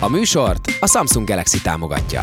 A műsort a Samsung Galaxy támogatja.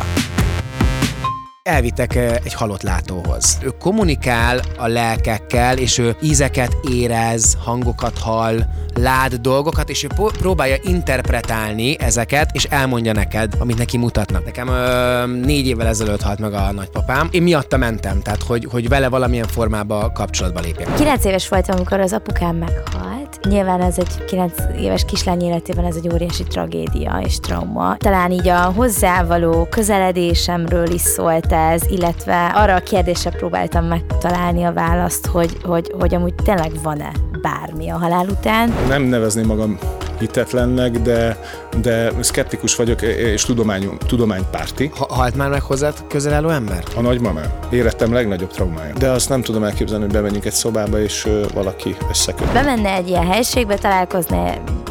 Elvittek eh, egy halott látóhoz. Ő kommunikál a lelkekkel, és ő ízeket érez, hangokat hall, lát dolgokat, és ő po- próbálja interpretálni ezeket, és elmondja neked, amit neki mutatnak. Nekem ö, négy évvel ezelőtt halt meg a nagypapám. Én miatta mentem, tehát hogy, hogy vele valamilyen formába kapcsolatba lépjek. Kilenc éves voltam, amikor az apukám meghalt. Nyilván ez egy kilenc éves kislány életében ez egy óriási tragédia és trauma. Talán így a hozzávaló közeledésemről is szólt ez, illetve arra a kérdésre próbáltam megtalálni a választ, hogy, hogy, hogy amúgy tényleg van-e bármi a halál után. nem nevezném magam hitetlennek, de, de szkeptikus vagyok, és tudományú, tudománypárti. Ha- Halt már meg hozzád közel álló ember? A nagymamám életem legnagyobb traumája. De azt nem tudom elképzelni, hogy bemenjünk egy szobába, és ö, valaki összeköt. Bemenne egy ilyen helységbe, találkozna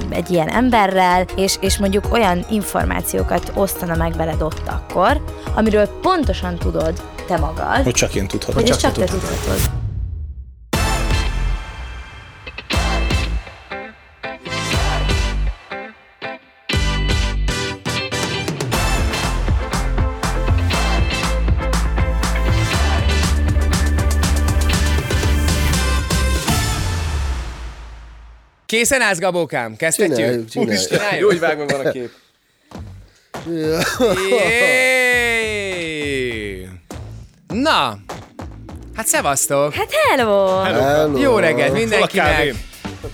egy ilyen emberrel, és, és mondjuk olyan információkat osztana meg veled ott akkor, amiről pontosan tudod te magad, Hogy csak én tudhatom. hogy Csak csak, csak én te tudhatom. tudhatod. Készen állsz, Gabókám? Kezdhetjük? Csináljuk, csináljuk. Csináljuk. vágva van a kép. Jéj! Na, hát szevasztok! Hát hello! Hello. Jó reggelt Hol a kávém? mindenkinek!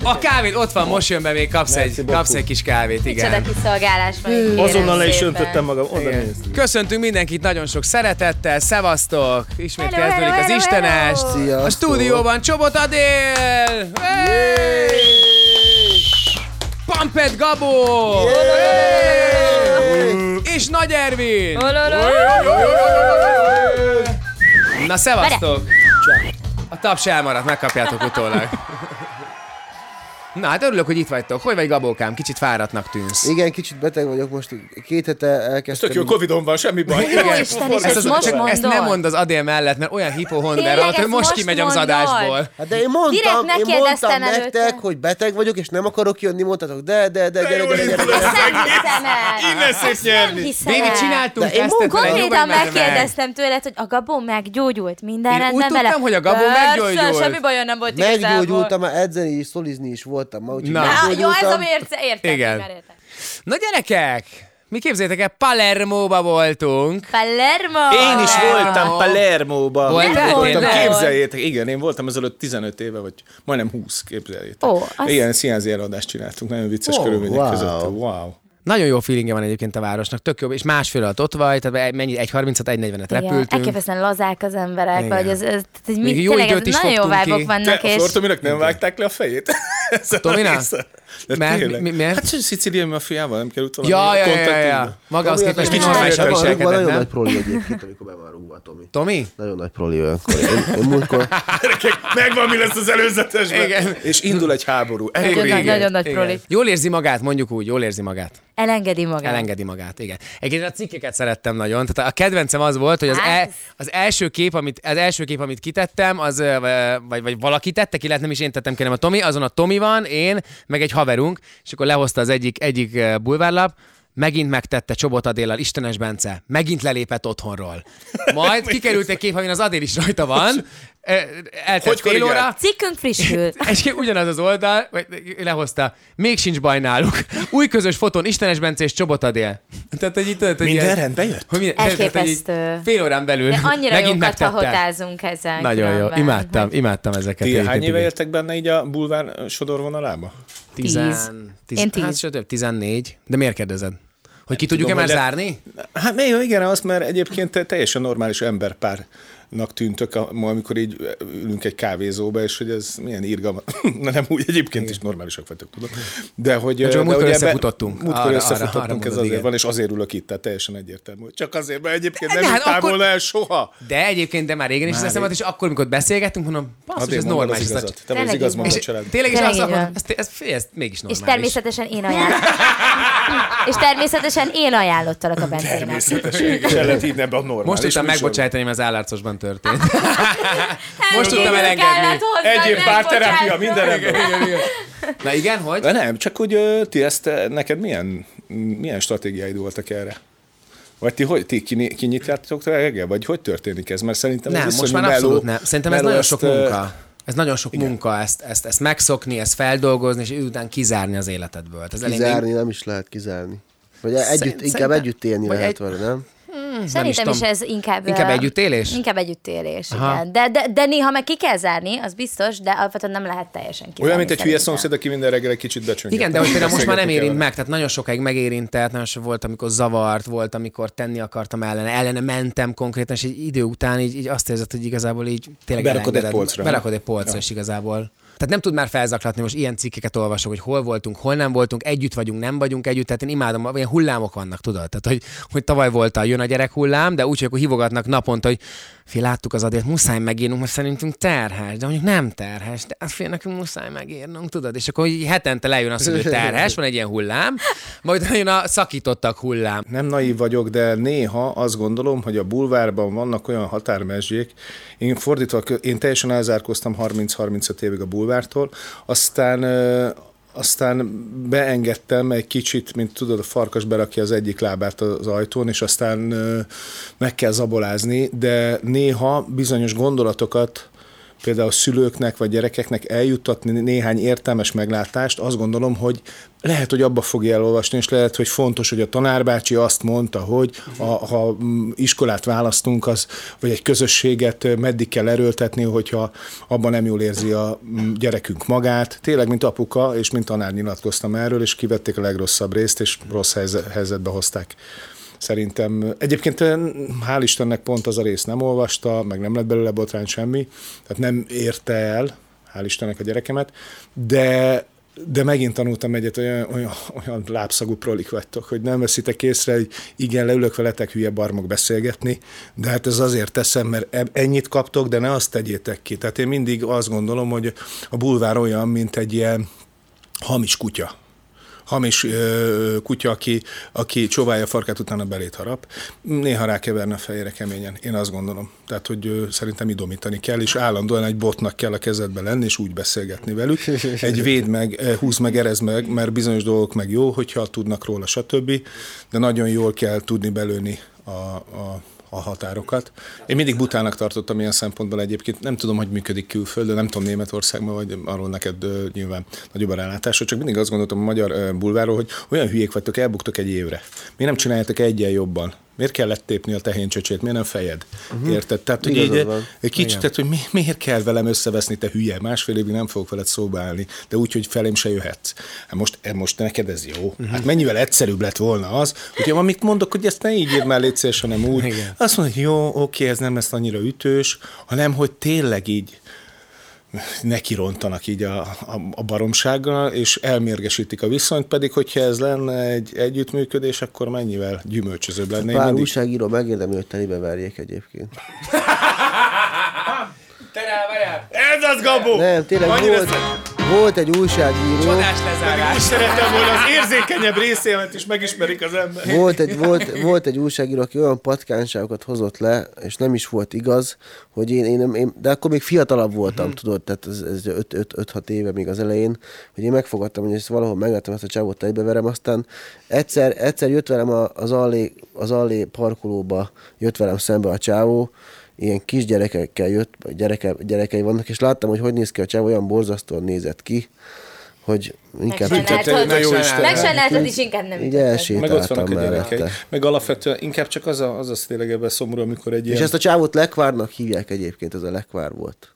A kávét ott van, most jön be, még kapsz, egy, beaucoup. kapsz egy kis kávét, Micsoda igen. kiszolgálás van. így Azonnal kérem le is szépen. öntöttem magam, oda Igen. nézd. Köszöntünk mindenkit nagyon sok szeretettel, szevasztok! Ismét Hello, kezdődik hello, az hello, Istenest! hello. A Sziasztok. stúdióban Csobot Adél! Pampet Gabó! Hey! És Nagy Ervin! Na, szevasztok! A taps elmaradt, megkapjátok utólag. Na, hát örülök, hogy itt vagytok. Hogy vagy, Gabókám? Kicsit fáradtnak tűnsz. Igen, kicsit beteg vagyok most, két hete elkezdtem. Tök jó, Covidon van, semmi baj. Jó Isten, és ezt most csak ezt nem mondod. mondd az Adél mellett, mert olyan hipohonder Tényleg, alatt, hogy ezt most most kimegy az mondod? adásból. Hát de én mondtam, Direkt én megkérdeztem mondtam előtte. nektek, hogy beteg vagyok, és nem akarok jönni, mondtatok, de, de, de, gyere, gyere, gyere, Nem gyere. hiszem el. Innen szép nyerni. hiszem Bébi, el. csináltunk De én tesztet vele, Konkrétan nyugodj már, de meg. megkérdeztem tőled, hogy a Gabon meggyógyult, minden Én úgy rendben vele. tudtam, hogy a Gabon Persze, meggyógyult. semmi bajon nem volt igazából. Meggyógyultam, már edzeni is, szolizni is voltam ma, úgyhogy Na. Á, jó, ez a meggyógyultam. mérce, értem. Igen. már értem. Na gyerekek, mi képzétek el, Palermóba voltunk. Palermo! Én is voltam Palermóba. Voltál? voltam. Tényleg? Képzeljétek, igen, én voltam ezelőtt 15 éve, vagy majdnem 20, képzeljétek. Ó, az- Igen, színházi előadást csináltunk, nagyon vicces Ó, körülmények wow. között. Wow. Nagyon jó feelingje van egyébként a városnak, tök jó, és másfél alatt ott vagy, tehát mennyi, 1.36, 1.40-et Igen, repültünk. elképesztően lazák az emberek, Igen. vagy ez, ez tehát, egy mi, Még jó tényleg időt ez is nagyon jó fogtunk vágok ki. vannak, Te, a és Fortominak nem vágták le a fejét? Ezzel a Tomina? résszel? De Mert- tényleg. mi- miért? Hát, hogy szicíliai mafiával nem került valami Ja, ja, ja, ja, kontaktusba? ja. Maga az Tomi, képest, hogy hát kicsit normálisan féltem. Rúgva viselkedett, Nagyon nem? nagy proli egyébként, amikor be van rúgva, Tomi. Tomi? Nagyon nagy proli olyankor. Én, én múltkor hát, Gyerekek, Megvan, mi lesz az előzetesben. Igen. És indul egy háború. Ekkor Nagyon nagy- igen. nagyon nagy proli. Jól érzi magát, mondjuk úgy, jól érzi magát. Elengedi magát. Elengedi magát, igen. Egyébként a cikkeket szerettem nagyon. Tehát a kedvencem az volt, hogy az, Hát. el, az, első, kép, amit, az első kép, amit kitettem, az, ö, vagy, vagy valaki tette ki, lehet nem is én tettem ki, hanem a Tomi, azon a Tomi van, én, meg egy haverunk, és akkor lehozta az egyik, egyik ö, bulvárlap, megint megtette Csobot Adéllal, Istenes Bence, megint lelépett otthonról. Majd kikerült egy kép, amin az Adél is rajta van, Ö, eltelt Hogy fél korrigált? óra, Cikkünk frissül. és ugyanaz az oldal, vagy lehozta, még sincs baj náluk. Új közös fotón, Istenes Bence és Csobot Adél. Tehát, hogy itt tudod, hogy Minden ilyen- rendbe jött? Hogy minden, tehát, hogy így Elképesztő. Fél órán belül De annyira megint jókat megtette. hahotázunk ezzel. Nagyon jó, különben. imádtam, imádtam ezeket. Ti egyébként, hány éve igen. éltek benne így a bulvár ö, sodorvonalába? Tizen, tiz, Én tíz. Hát, sőt, több, 14. De miért kérdezed? Hogy ki tudjuk-e tudom, már hogy le- zárni? Hát még jó, igen, azt, mert egyébként te- teljesen normális emberpárnak tűntök, a- ma, amikor így ülünk egy kávézóba, és hogy ez milyen irgalma. Na nem úgy, egyébként is normálisak vagytok, tudom. De hogy... csak de múltkor hogy ebbe- összefutottunk. Múltkor Arra- arra- összefutottunk, arra ez mondod, azért igen. van, és azért ülök itt, tehát teljesen egyértelmű. hogy Csak azért, mert egyébként De nem hát ültál akkor- volna el soha. De egyébként, de már régen is eszembe volt, és akkor, amikor beszélgettünk, mondom, basszus, Azért ez mondod normális. az ez a- igazat. Te vagy az Tényleg igaz így mondod, És család. tényleg is Tényleg azt így mondom, van. ez, ez, ez, ez mégis És normális. természetesen én ajánlottam. és természetesen én ajánlottalak a Bencének. És el lehet hívni ebbe a normális Most tudtam műsorba. megbocsájtani, mert az állárcosban történt. Hát, Most tudtam elengedni. Kellett hozzá, Egyéb nem párterápia, bocsánat. minden rendben. Igen, igen, igen. Na igen, hogy? De nem, csak hogy ö, ti ezt, ö, neked milyen milyen stratégiáid voltak erre? Vagy ti, hogy, ti kiny- kinyitjátok reggel? Vagy hogy történik ez? Mert szerintem Nem, ez most iszonyú már abszolút meló- nem. Szerintem ez meló nagyon sok ezt, ö, munka. Ez nagyon sok igen. munka ezt, ezt, ezt megszokni, ezt feldolgozni, és után kizárni az életedből. Ez elég- Kizárni nem is lehet kizárni. Vagy együtt, inkább szerintem- együtt élni vagy lehet egy- vele, nem? Nem Szerintem is is, tudom. ez inkább... Inkább ö, együttélés? Inkább együttélés, igen. De, de, de néha meg ki kell zárni, az biztos, de alapvetően nem lehet teljesen kizárni. Olyan, mint egy hülye szerintem. szomszéd, aki minden reggel egy kicsit becsönget. Igen, de hogy például most már nem Beszélgetni érint kellene. meg, tehát nagyon sokáig megérintett, nagyon sok volt, amikor zavart, volt, amikor tenni akartam ellene, ellene mentem konkrétan, és egy idő után így, így azt érzed, hogy igazából így tényleg Berakod egy elengeded. polcra. Berakod egy polcra, ja. és igazából. Tehát nem tud már felzaklatni, most ilyen cikkeket olvasok, hogy hol voltunk, hol nem voltunk, együtt vagyunk, nem vagyunk együtt, tehát én imádom, ilyen hullámok vannak, tudod? Tehát, hogy, hogy tavaly volt a jön a gyerek hullám, de úgy, hogy akkor hívogatnak naponta, hogy fi, láttuk az adét, muszáj megírnunk, mert szerintünk terhes, de mondjuk nem terhes, de azt fél nekünk muszáj megírnunk, tudod? És akkor így hetente lejön az, hogy ő terhes, van egy ilyen hullám, majd jön a szakítottak hullám. Nem naív vagyok, de néha azt gondolom, hogy a bulvárban vannak olyan határmezsék, én fordítva, kö- én teljesen elzárkóztam 30-35 évig a bulvártól, aztán ö, aztán beengedtem egy kicsit, mint tudod, a farkas berakja az egyik lábát az ajtón, és aztán ö, meg kell zabolázni, de néha bizonyos gondolatokat például szülőknek vagy gyerekeknek eljuttatni néhány értelmes meglátást, azt gondolom, hogy lehet, hogy abba fogja elolvasni, és lehet, hogy fontos, hogy a tanárbácsi azt mondta, hogy a, ha mm, iskolát választunk, az, vagy egy közösséget ö, meddig kell erőltetni, hogyha abban nem jól érzi a mm, gyerekünk magát. Tényleg, mint apuka és mint tanár nyilatkoztam erről, és kivették a legrosszabb részt, és rossz helyze- helyzetbe hozták. Szerintem egyébként eh, hál' Istennek pont az a rész nem olvasta, meg nem lett belőle botrány semmi, tehát nem érte el, hál' Istennek a gyerekemet, de de megint tanultam egyet, olyan, olyan, olyan lábszagú prolik vagytok, hogy nem veszitek észre, hogy igen, leülök veletek hülye barmok beszélgetni, de hát ez azért teszem, mert eb- ennyit kaptok, de ne azt tegyétek ki. Tehát én mindig azt gondolom, hogy a bulvár olyan, mint egy ilyen hamis kutya hamis ö, kutya, aki, aki csóválja a farkát, utána belét harap. Néha rákeverne a fejére keményen, én azt gondolom. Tehát, hogy ö, szerintem idomítani kell, és állandóan egy botnak kell a kezedbe lenni, és úgy beszélgetni velük. Egy véd meg, ö, húz meg, erez meg, mert bizonyos dolgok meg jó, hogyha tudnak róla, stb. De nagyon jól kell tudni belőni a, a a határokat. Én mindig butának tartottam ilyen szempontból egyébként. Nem tudom, hogy működik külföldön, nem tudom Németországban, vagy arról neked ö, nyilván nagyobb a rálátásod, csak mindig azt gondoltam a magyar ö, bulváról, hogy olyan hülyék vagytok, elbuktok egy évre. Miért nem csináljátok egyen jobban? Miért kellett tépni a tehéncsöcsét? Miért nem fejed? Uh-huh. Érted? Tehát, hogy Mhm. Igazad így, van. egy kicsit, tehát, hogy mi, miért kell velem összeveszni, te hülye? Másfél évig nem fogok veled szóba állni, de úgy, hogy felém se jöhetsz. Hát most, e, most neked ez jó. Mhm. Uh-huh. Hát mennyivel egyszerűbb lett volna az, hogy én amit mondok, hogy ezt ne így írd már légy szíves, hanem úgy. Igen. Azt mondod, hogy jó, oké, ez nem lesz annyira ütős, hanem hogy tényleg így neki rontanak így a, a, a baromsággal, és elmérgesítik a viszonyt, pedig hogyha ez lenne egy együttműködés, akkor mennyivel gyümölcsözőbb lenne. Én Pár mindig- újságíró megérdemli, hogy telibe verjék egyébként. Ez az, Gabó! Nem, tényleg Annyira volt, volt egy újságíró, Úgy szeretem volna az érzékenyebb részémet is megismerik az ember. volt egy, volt, volt egy újságíró, aki olyan patkányságokat hozott le, és nem is volt igaz, hogy én, én, én de akkor még fiatalabb voltam, uh-huh. tudod, tehát ez, ez 5-6 éve még az elején, hogy én megfogadtam, hogy ezt valahol megálltam ezt a csávot egybeverem, aztán egyszer, egyszer jött velem a- az allé, az allé parkolóba, jött velem szembe a csávó, ilyen kisgyerekekkel jött, vagy gyereke, gyerekei vannak, és láttam, hogy hogy néz ki a csávó, olyan borzasztóan nézett ki, hogy inkább... Megsajnáltad, Na jó Isten. megsajnáltad, és inkább nem. Így jutottad. elsétáltam Meg ott vannak a mellette. gyerekei. Meg alapvetően inkább csak az, a, az az tényleg ebben szomorú, amikor egy És ilyen... ezt a csávót lekvárnak hívják egyébként, ez a lekvár volt.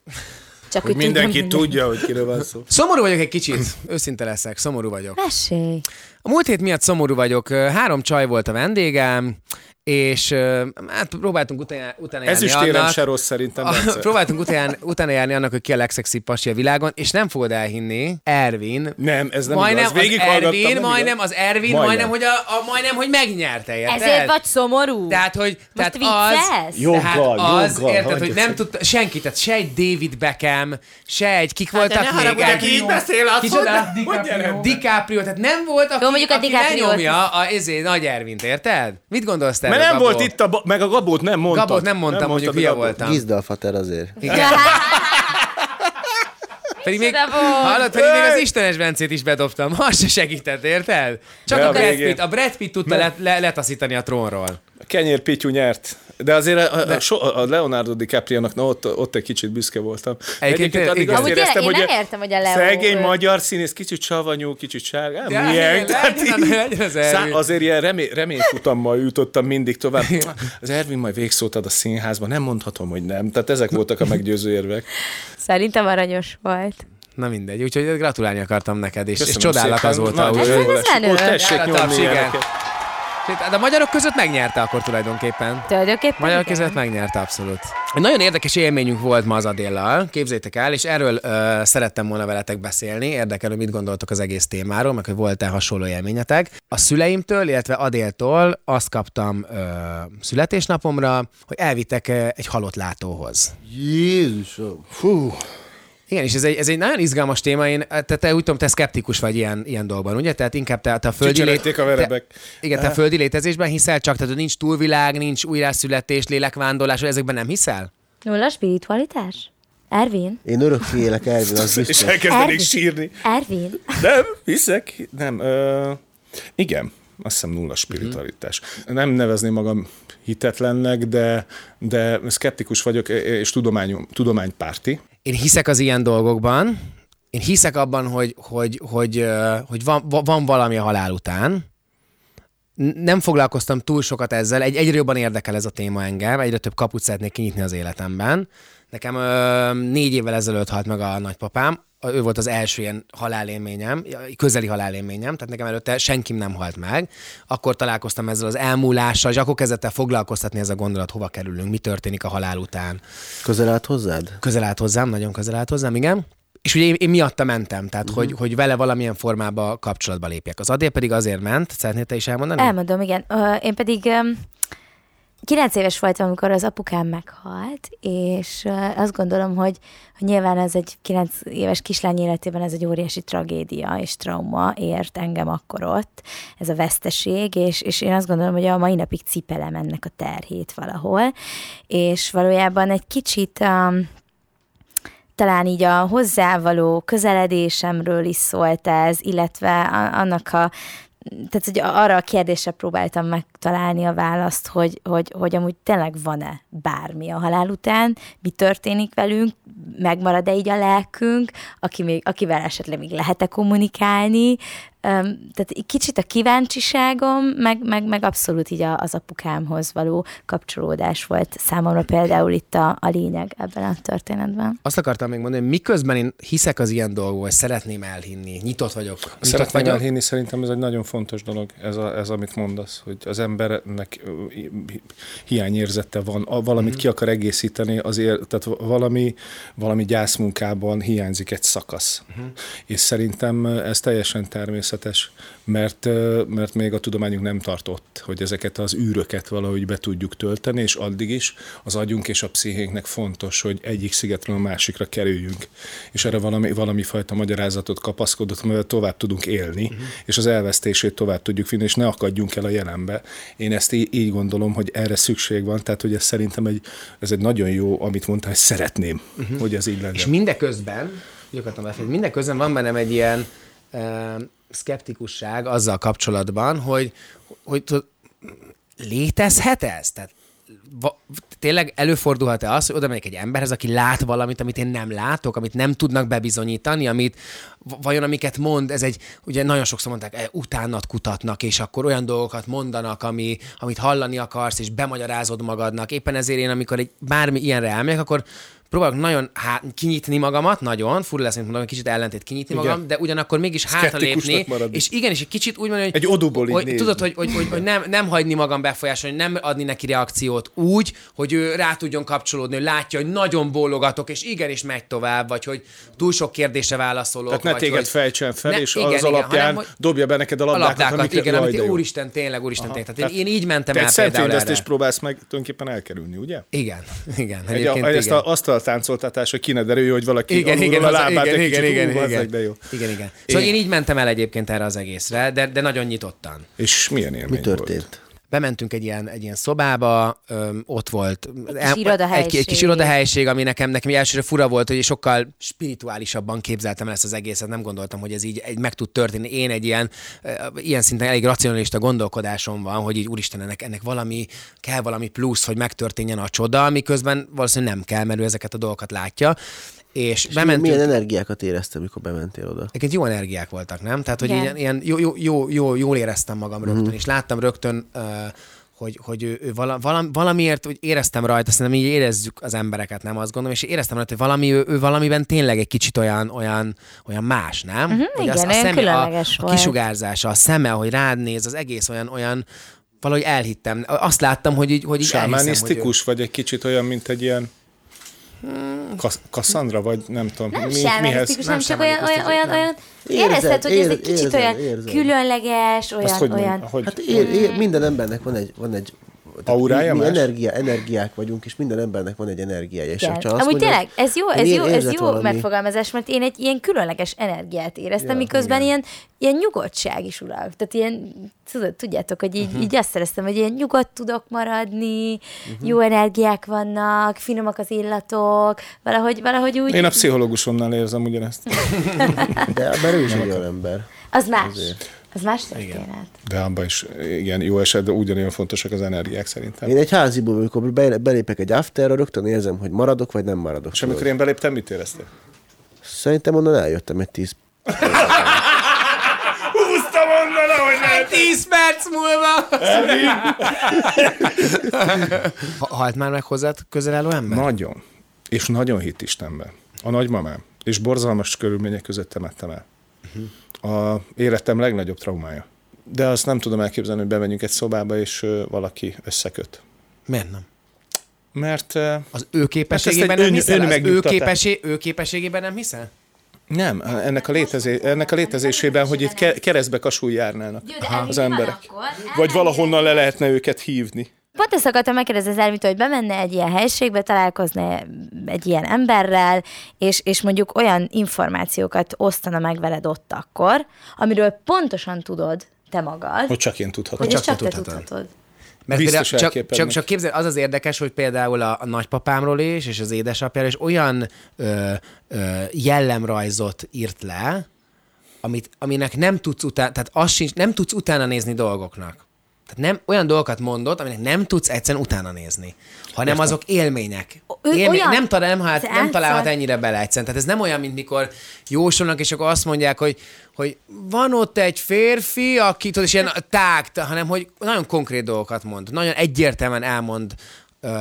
Csak Hogy úgy mindenki tudom, tudja, hogy kiről van szó. Szomorú vagyok egy kicsit, őszinte leszek, szomorú vagyok. Mesélj. A múlt hét miatt szomorú vagyok. Három csaj volt a vendégem, és ö, hát próbáltunk utána, utána Ez is járni térem annak. se rossz szerintem. A- Bence. próbáltunk utána, utána járni annak, hogy ki a legszexi pasi a világon, és nem fogod elhinni, Ervin. Nem, ez nem majdnem igaz. az Végighallgattam, nem Ervin, igaz. majdnem az Ervin, Majdnem. majdnem, hogy, a, a, majdnem hogy megnyerte. érted? Ezért vagy szomorú? Tehát, hogy Most tehát az, viccelsz? Joggal, tehát az joggal, érted, hogy hagyjuk nem szét. tudta, senki, tehát se egy David Beckham, se egy, kik voltak Hát, ne még? haragudj, aki így beszél, azt Kicsoda? hogy- hogy DiCaprio. DiCaprio, tehát nem volt, aki, mondjuk a aki DiCapriót. lenyomja a, ezért, Nagy Ervint, érted? Mit gondolsz te? Mert erről, nem Gabó? volt itt a... ba- Meg a Gabót nem mondtad. Gabót nem mondtam, mondjuk hülye mondtad a Gabót. voltam. Gizdalfater azért. Igen. Pedig még, Micsoda volt? hallod, pedig még az Istenes Bencét is bedobtam. Ha se segített, érted? Csak De a a Brad végén. Pitt, a Brad Pitt tudta le, le, letaszítani a trónról. A Kenyér Pityu nyert. De azért a, a, so, a Leonardo DiCaprio-nak, na ott, ott egy kicsit büszke voltam. addig igen. azt Amúgy tényleg éreztem, én hogy nem a értem, hogy a Leo- Szegény magyar színész, kicsit savanyú, kicsit sárga. Ja, milyen? Tehát legyen, így- legyen az Ervin. Szá- azért ilyen remény, reményfutammal jutottam mindig tovább. Az Ervin majd végszót ad a színházban, nem mondhatom, hogy nem. Tehát ezek voltak a meggyőző érvek. Szerintem aranyos volt. Na mindegy, úgyhogy gratulálni akartam neked, és, és Köszönöm csodálak szépen. azóta, Nagy hogy... Hát Ez örülök. az menő. Ó, tessék Jár a taps, nyomni igen. ilyeneket. De a magyarok között megnyerte akkor tulajdonképpen. Tulajdonképpen Magyar igen. között megnyerte abszolút. Egy nagyon érdekes élményünk volt ma az Adéllal, képzétek el, és erről ö, szerettem volna veletek beszélni, érdekel, hogy mit gondoltok az egész témáról, meg hogy volt-e hasonló élményetek. A szüleimtől, illetve Adéltól azt kaptam ö, születésnapomra, hogy elvittek ö, egy halott látóhoz. Jézusom! Fú! Igen, és ez egy, ez egy nagyon izgalmas téma, én, tehát te úgy tudom, te szkeptikus vagy ilyen, ilyen dolgban, ugye? Tehát inkább te, te a földi Csicseregték a verebek. Te, igen, te a földi létezésben hiszel csak, tehát hogy nincs túlvilág, nincs újrászületés, lélekvándorlás, ezekben nem hiszel? Nulla spiritualitás? Ervin? Én örökké élek Ervin, az És biztos. elkezdenék Ervin? sírni. Ervin? Nem, hiszek. Nem. Ö, igen, azt hiszem nulla spiritualitás. Nem nevezném magam hitetlennek, de, de szkeptikus vagyok, és tudományom, tudománypárti. Én hiszek az ilyen dolgokban, én hiszek abban, hogy, hogy, hogy, ö, hogy van, va- van valami a halál után, N- nem foglalkoztam túl sokat ezzel, egy, egyre jobban érdekel ez a téma engem, egyre több kaput szeretnék kinyitni az életemben. Nekem ö, négy évvel ezelőtt halt meg a nagypapám, A- ő volt az első ilyen halálélményem, közeli halálélményem, tehát nekem előtte senkim nem halt meg. Akkor találkoztam ezzel az elmúlással, és akkor kezdett el foglalkoztatni ez a gondolat, hova kerülünk, mi történik a halál után Közel állt hozzád? közel állt hozzám, nagyon közel állt hozzám, igen. És ugye én, én miatta mentem, tehát Mhm. uh-huh. hogy, hogy vele valamilyen formába kapcsolatba lépjek. Az Adél pedig azért ment, szeretnél te is elmondani? Elmondom, igen. Ö, Én pedig öm, kilenc éves voltam, amikor az apukám meghalt, és ö, azt gondolom, hogy, hogy nyilván ez egy kilenc éves kislány életében ez egy óriási tragédia és trauma ért engem akkor ott, ez a veszteség, és, és én azt gondolom, hogy a mai napig cipelem ennek a terhét valahol, és valójában egy kicsit... Um, talán így a hozzávaló közeledésemről is szólt ez, illetve a- annak a tehát, hogy arra a kérdésre próbáltam megtalálni a választ, hogy, hogy, hogy amúgy tényleg van-e bármi a halál után, mi történik velünk, megmarad-e így a lelkünk, aki még, akivel esetleg még lehet-e kommunikálni. Öm, Tehát egy kicsit a kíváncsiságom, meg, meg, meg abszolút így a- az apukámhoz való kapcsolódás volt számomra például itt a, a lényeg ebben a történetben. Azt akartam még mondani, hogy miközben én hiszek az ilyen dolgokban, hogy szeretném elhinni, nyitott vagyok. Nyitott Szeretném vagyok. elhinni, szerintem ez egy nagyon fontos dolog, ez, a, ez amit mondasz, hogy az embernek ö, hi- hi- hiányérzete van, a, valamit ki akar egészíteni, azért, tehát va- valami, valami gyászmunkában hiányzik egy szakasz. És szerintem ez teljesen természetes, mert, ö, mert még a tudományunk nem tartott, hogy ezeket az űröket valahogy be tudjuk tölteni, és addig is az agyunk és a pszichénknek fontos, hogy egyik szigetről a másikra kerüljünk. És erre valami, valami fajta magyarázatot kapaszkodott, amivel tovább tudunk élni, Mhm. uh-huh. és az elvesztését tovább tudjuk vinni, és ne akadjunk el a jelenbe. Én ezt í- így gondolom, hogy erre szükség van, tehát hogy ez szerintem egy, ez egy nagyon jó, amit mondtál, hogy szeretném, uh-huh. hogy ez így legyen. Mhm. És mindeközben, így akartam befejezni, mindeközben van bennem egy ilyen uh, szkeptikusság azzal kapcsolatban, hogy, hogy tudod, létezhet ez? Tehát va, tényleg előfordulhat-e az, hogy oda megyek egy emberhez, aki lát valamit, amit én nem látok, amit nem tudnak bebizonyítani, amit v- vajon amiket mond, ez egy, ugye nagyon sokszor mondták, e, utánat kutatnak, és akkor olyan dolgokat mondanak, ami, amit hallani akarsz, és bemagyarázod magadnak. Éppen ezért én, amikor egy bármi ilyenre elmegyek, akkor próbálok nagyon há- kinyitni magamat, nagyon, fura lesz, mint mondom, egy kicsit ellentét kinyitni Igen. Igen. magam, de ugyanakkor mégis hátralépni, Szkeptikusnak maradni. és igen, és egy kicsit úgy mondani, hogy, Egy odúból így hogy, nézni. tudod, hogy, hogy, hogy, hogy nem, nem hagyni magam befolyásolni, nem adni neki reakciót úgy, hogy ő rá tudjon kapcsolódni, hogy látja, hogy nagyon bólogatok, és igenis megy tovább, vagy hogy túl sok kérdése válaszolok. Tehát ne vagy téged hogy- fejtsen fel, és az alapján hanem, hogy dobja be neked a a labdákat, labdákat, amiket- igen, jaj, amit de jó. úristen, tényleg, úristen, Aha, tényleg. Tehát Hát én, Tehát- én így mentem Te egy el például szemfényvesztést erre. próbálsz meg tulajdonképpen elkerülni, ugye? Igen, igen. Egy, a, Egyébként egy ezt igen. a, azt a táncoltatás, hogy ki ne derüljön, hogy valaki igen, alulról igen, a az- lábát igen, egy igen, kicsit, igen, ú, bazzeg, igen. de jó. Igen, igen. Szóval én így mentem el egyébként erre az egészre, de, de nagyon nyitottan. És milyen élmény Mi történt? bementünk egy ilyen, egy ilyen szobába, öm, ott volt kis irodahelység. egy, egy kis irodahelység, ami nekem, nekem elsőre fura volt, hogy sokkal spirituálisabban képzeltem el ezt az egészet, nem gondoltam, hogy ez így egy, meg tud történni. Én egy ilyen, ö, ilyen szinten elég racionalista gondolkodásom van, hogy így úristen, ennek, ennek valami, kell valami plusz, hogy megtörténjen a csoda, miközben valószínűleg nem kell, mert ő ezeket a dolgokat látja. És, és Bementünk. bementünk. Milyen energiákat éreztem, mikor bementél oda? Egyébként jó energiák voltak, nem? Tehát, hogy Igen. ilyen, ilyen jó, jó, jó, jó, jól éreztem magam rögtön, és láttam rögtön, ö, hogy, hogy ő, ő vala, valam, valamiért hogy éreztem rajta, szerintem így érezzük az embereket, nem azt gondolom, és éreztem rajta, hogy valami, ő, ő valamiben tényleg egy kicsit olyan, olyan, olyan más, nem? Uh-huh, Mhm, igen, olyan különleges a, a volt. kisugárzása, a szeme, hogy rád néz, az egész olyan, olyan valahogy elhittem. Azt láttam, hogy így, hogy így elhiszem, hogy ő- Sámánisztikus, vagy egy kicsit olyan, mint egy ilyen Hmm. Kasz- Kasszandra, vagy nem tudom, Nem mi- sámánisztikus, nem csak olyan, olyan, olyan, olyan Érzed, érezted, hogy ez egy érzed, kicsit érzed, olyan érzed. különleges, Azt olyan, hogy, olyan. olyan. hogy Hát ér, ér, minden embernek van egy, van egy tehát Aurája mi, mi más? energia, energiák vagyunk, és minden embernek van egy energiája. És Igen. csak azt Amúgy mondod, tényleg, ez jó, ez én jó, ez érzett jó valami. megfogalmazás, mert én egy ilyen különleges energiát éreztem, miközben ilyen, ilyen nyugodtság is ural. Tehát ilyen, tudod, tudjátok, hogy így, Mhm. így azt éreztem, hogy ilyen nyugodt tudok maradni, Mhm. jó energiák vannak, finomak az illatok, valahogy, valahogy úgy, Én a pszichológusomnál érzem ugyanezt. De mert ő is egy olyan ember. az más. Az más történet. De abban is, igen, jó esetben ugyanolyan fontosak az energiák szerintem. Én egy háziból, amikor be- belépek egy afterra, rögtön érzem, hogy maradok, vagy nem maradok. És amikor én beléptem, mit éreztél? Szerintem onnan eljöttem egy tíz. Húztam onnan, ahogy lehet. 10 perc múlva! Ha- Halt már meg hozzád közel álló ember? Nagyon. És nagyon hitt Istenben. A nagymamám. És borzalmas körülmények között temettem el. Mhm. A életem legnagyobb traumája. De azt nem tudom elképzelni, hogy bemegyünk egy szobába, és ö, valaki összeköt. Miért nem? Mert ö, Az ő képességében Hát egy nem ön- hiszel? Az ő, önmegnyugtatás. képessé, ő képességében nem hiszel? nem, ennek a, létezé, ennek a létezésében, hogy itt ke- keresztbe kasul járnának az emberek. Vagy valahonnan le lehetne őket hívni. Pont ezt akartam megkérdezni az elmitől, hogy bemenne egy ilyen helységbe, találkozna egy ilyen emberrel, és, és mondjuk olyan információkat osztana meg veled ott akkor, amiről pontosan tudod te magad, Hogy csak én tudhatom. hogy csak, csak csak te te tudhatod. tudhatod. Mert Biztos például csak, elképelnek. csak, csak képzel, az az érdekes, hogy például a, a nagypapámról is, és az édesapjáról is olyan ö, ö, jellemrajzot írt le, amit, aminek nem tudsz utána, tehát az sincs, nem tudsz utána nézni dolgoknak. Tehát nem, olyan dolgokat mondott, aminek nem tudsz egyszerűen utána nézni, hanem azok élmények. Ő Élmény, olyan- nem, talál, nem, hát, nem Százszor- találhat ennyire bele egyszerűen. Tehát ez nem olyan, mint mikor jósolnak, és akkor azt mondják, hogy, hogy van ott egy férfi, aki tudod, és ilyen tág, hanem hogy nagyon konkrét dolgokat mond. Nagyon egyértelműen elmond ö,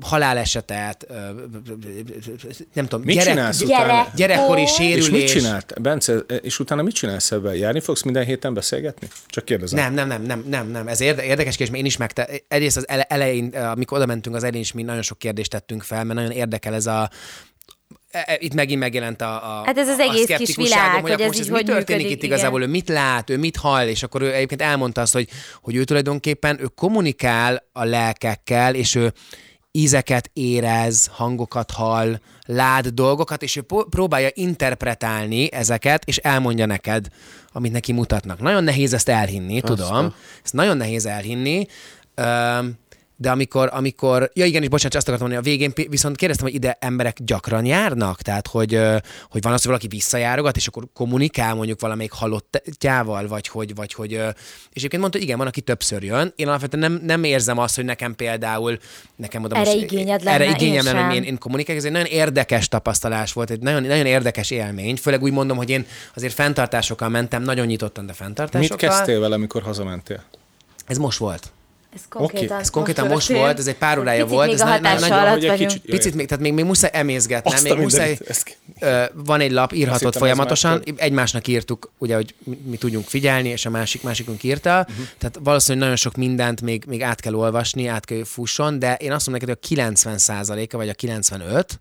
halálesetet, ö, nem tudom, Mit csinálsz utána? Gyerek. gyerekkori És mit sérülés. És mit csinált? Bence, és utána mit csinálsz ebben? Járni fogsz minden héten beszélgetni? Csak kérdezem. Nem, nem, nem, nem, nem, nem. Ez érde- érdekes kérdés, mert én is megte... Egyrészt az ele- elején, eh, amikor oda mentünk az elején is, mi nagyon sok kérdést tettünk fel, mert nagyon érdekel ez a e- e- itt megint megjelent a, a Hát ez az a egész kis szkeptikusságom, világ, hogy, hogy akkor ez most így mi hogy történik működik, itt igazából, ő mit lát, ő mit hall, és akkor ő egyébként elmondta azt, hogy, hogy ő tulajdonképpen ő kommunikál a lelkekkel, és ő ízeket érez, hangokat hall, lát dolgokat, és ő po- próbálja interpretálni ezeket, és elmondja neked, amit neki mutatnak. Nagyon nehéz ezt elhinni, tudom. Ezt nagyon nehéz elhinni. Öm, de amikor, amikor, ja igen, és bocsánat, csak azt akartam mondani, a végén pi- viszont kérdeztem, hogy ide emberek gyakran járnak, tehát hogy, ö, hogy van az, hogy valaki visszajárogat, és akkor kommunikál mondjuk valamelyik halottjával, vagy hogy, vagy hogy, ö, és egyébként mondta, igen, van, aki többször jön. Én alapvetően nem, nem érzem azt, hogy nekem például, nekem oda Erre most, igényed erre lenne, igényem én lenne, hogy sem. én, én kommunikálok, ez egy nagyon érdekes tapasztalás volt, egy nagyon, nagyon érdekes élmény, főleg úgy mondom, hogy én azért fenntartásokkal mentem, nagyon nyitottan, de Mit fenntartásokkal. kezdtél vele, amikor hazamentél? Ez most volt. Ez konkrétan, Oké, Ez konkrétan most volt, ez egy pár órája Picit volt. még ez a na- na- hatása nagyon- alatt Hogy egy vagyunk. kicsit- Jaj. Picit még, tehát még, még muszáj emészgetnem, Azt a még muszáj, mindenit, ezt- ö, van egy lap, Azt írhatod hittem, ez folyamatosan, már egymásnak írtuk, ugye, hogy mi, mi tudjunk figyelni, és a másik másikunk írta, Mhm. uh-huh. tehát valószínűleg nagyon sok mindent még, még át kell olvasni, át kell hogy fusson, de én azt mondom neked, hogy a 90%-a vagy a 95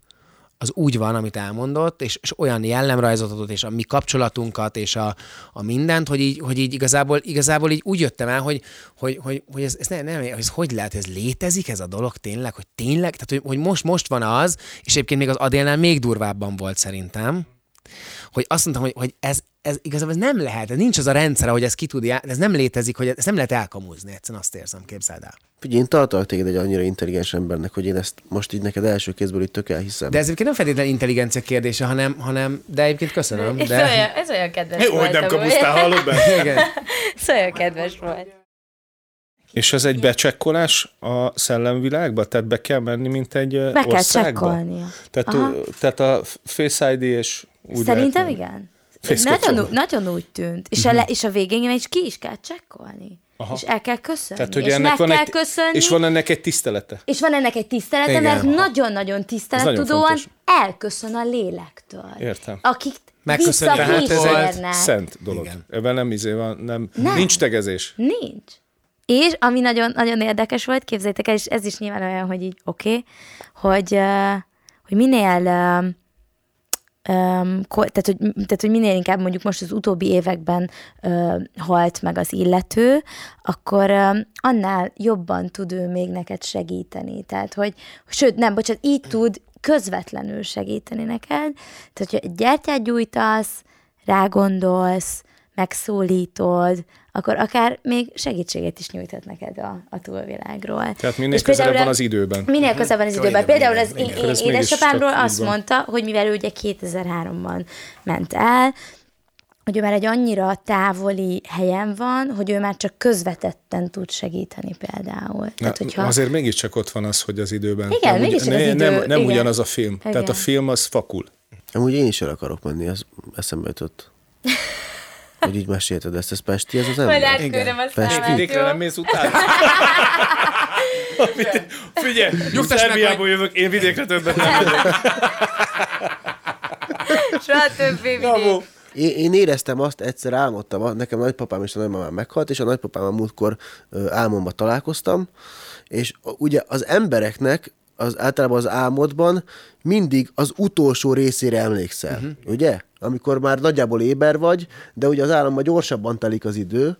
az úgy van, amit elmondott, és, és olyan jellemrajzot adott, és a mi kapcsolatunkat, és a, a mindent, hogy így, hogy így igazából, igazából így úgy jöttem el, hogy, hogy, hogy, hogy ez, ez, nem, nem, ez hogy lehet, ez létezik ez a dolog tényleg, hogy tényleg, tehát hogy, hogy most, most van az, és egyébként még az Adélnál még durvábban volt szerintem, hogy azt mondtam, hogy, hogy ez, ez igazából ez nem lehet, ez nincs az a rendszer, hogy ez ki tudja, ez nem létezik, hogy ezt nem lehet elkamúzni, egyszerűen azt érzem, képzeld el. Figyelj, én tartalak téged egy annyira intelligens embernek, hogy én ezt most így neked első kézből itt tök elhiszem. De ez egyébként nem feltétlenül intelligencia kérdése, hanem, hanem de egyébként köszönöm. Ez, De... olyan, ez olyan kedves Jó, volt. hogy nem amúgy. kapusztál, hallod be? Igen. Ez olyan kedves volt. És ez egy becsekkolás a szellemvilágba? Tehát be kell menni, mint egy ö, Be kell országba? csekkolnia. Tehát, Aha. ö, tehát a Face ID és... Úgy Szerintem lehet, igen. Fészkot Nagyon, fognak. ú- nagyon úgy tűnt. És, a le, és a végén is ki is kell csekkolni. Aha. És el kell köszönni. Tehát, hogy és ennek meg van kell egy, köszönni. És van ennek egy tisztelete. És van ennek egy tisztelete, Igen. mert nagyon-nagyon Ez tisztelettudóan nagyon elköszön a lélektől. Értem. Akik Megköszönni. Tehát ez egy visszakísérnek. szent dolog. Igen. Ebben nem izé van, nem, Nem. nem. nincs tegezés. Nincs. És ami nagyon, nagyon érdekes volt, képzeljétek el, és ez is nyilván olyan, hogy így oké, okay, hogy, ö, hogy minél ö, öm, ko- tehát, hogy, tehát, hogy minél inkább mondjuk most az utóbbi években ö, halt meg az illető, akkor ö, annál jobban tud ő még neked segíteni. Tehát, hogy, sőt, nem, bocsánat, így tud közvetlenül segíteni neked. Tehát, hogyha egy gyertyát gyújtasz, rágondolsz, megszólítod, akkor akár még segítséget is nyújthat neked a, a túlvilágról. Tehát minél És közelebb például- van az időben. Mhm. Minél közelebb van az időben. Például az én, igen. én Ez mégis édesapámról csak így azt van. mondta, hogy mivel ő ugye 2003-ban ment el, hogy ő már egy annyira távoli helyen van, hogy ő már csak közvetetten tud segíteni például. Na, Tehát, hát, hogyha... Azért mégiscsak ott van az, hogy az időben. Igen, nem, mégiscsak az ne- idő, nem, nem igen. ugyanaz a film. Igen. Tehát Igen. a film az fakul. Amúgy én is el akarok menni, ez eszembe jutott. Hogy így mesélted ezt, ez Pesti, ez az ember. átküldöm a Pesti. számát, Vidékre nem mész utána? Figyelj, Nyugtass meg, Szerbiából jövök, én vidékre többet nem megyek. Soha többé Bravo. Én, én éreztem azt, egyszer álmodtam, a- nekem a nagypapám és a nagymamám meghalt, és a nagypapám a múltkor ö, álmomba találkoztam, és a- ugye az embereknek az általában az álmodban mindig az utolsó részére emlékszel, uh-huh. ugye? Amikor már nagyjából éber vagy, de ugye az álomban gyorsabban telik az idő,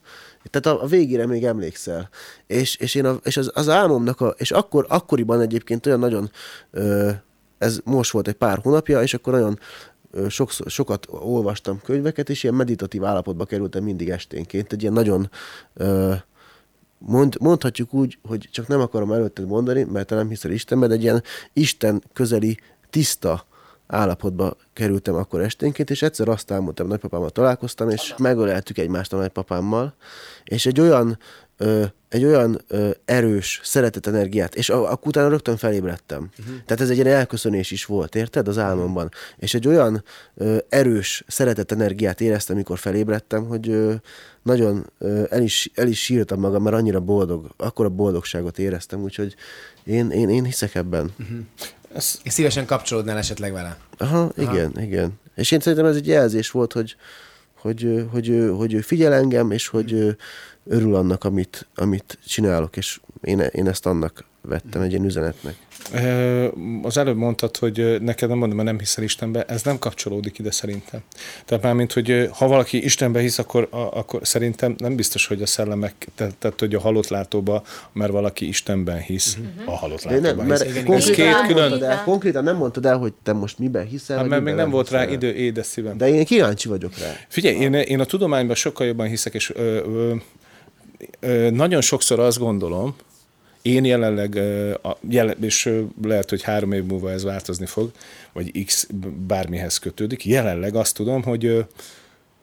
tehát a, a végére még emlékszel. És, és, én a, és az, az álmomnak, a, és akkor, akkoriban egyébként olyan nagyon ö, ez most volt egy pár hónapja, és akkor nagyon ö, sokszor, sokat olvastam könyveket, és ilyen meditatív állapotba kerültem mindig esténként. Egy ilyen nagyon, ö, mond, mondhatjuk úgy, hogy csak nem akarom előtted mondani, mert te nem hiszel Istenben, de egy ilyen Isten közeli, tiszta állapotba kerültem akkor esténként, és egyszer azt álmodtam, nagypapámmal találkoztam, és megöleltük egymást a nagypapámmal, és egy olyan, ö, egy olyan ö, erős szeretet energiát, és a- akkor utána rögtön felébredtem. Uh-huh. Tehát ez egy ilyen elköszönés is volt, érted, az álmomban. És egy olyan ö, erős szeretet energiát éreztem, amikor felébredtem, hogy ö, nagyon ö, el, is, el is sírtam magam, mert annyira boldog, akkora boldogságot éreztem, úgyhogy én, én, én hiszek ebben. Uh-huh. És szívesen kapcsolódnál esetleg vele. Aha, igen, igen. És én szerintem ez egy jelzés volt, hogy, hogy, ö, hogy, ő- hogy ő figyel engem, és hogy ö, örül annak, amit, amit csinálok, és én, én ezt annak vettem egy ilyen üzenetnek. Ö, Az előbb mondtad, hogy ö, neked nem mondom, mert nem hiszel Istenbe, ez nem kapcsolódik ide szerintem. Tehát mármint, hogy ö, ha valaki Istenbe hisz, akkor, a, akkor szerintem nem biztos, hogy a szellemek, tehát, tehát hogy a halott látóba, mert valaki Istenben hisz, uh-huh. a halott De nem, látóban mert hisz. Ez konkrétan, két nem külön, mondtad el, konkrétan nem mondtad el, hogy te most miben hiszel. hát, vagy mert még miben nem volt rá hiszel. idő, édes szívem. De én kíváncsi vagyok rá. Figyelj, én, én a tudományban sokkal jobban hiszek, és ö, ö, ö, nagyon sokszor azt gondolom, én jelenleg, ö, a, jelen, és ö, lehet, hogy három év múlva ez változni fog, vagy X bármihez kötődik, jelenleg azt tudom, hogy ö,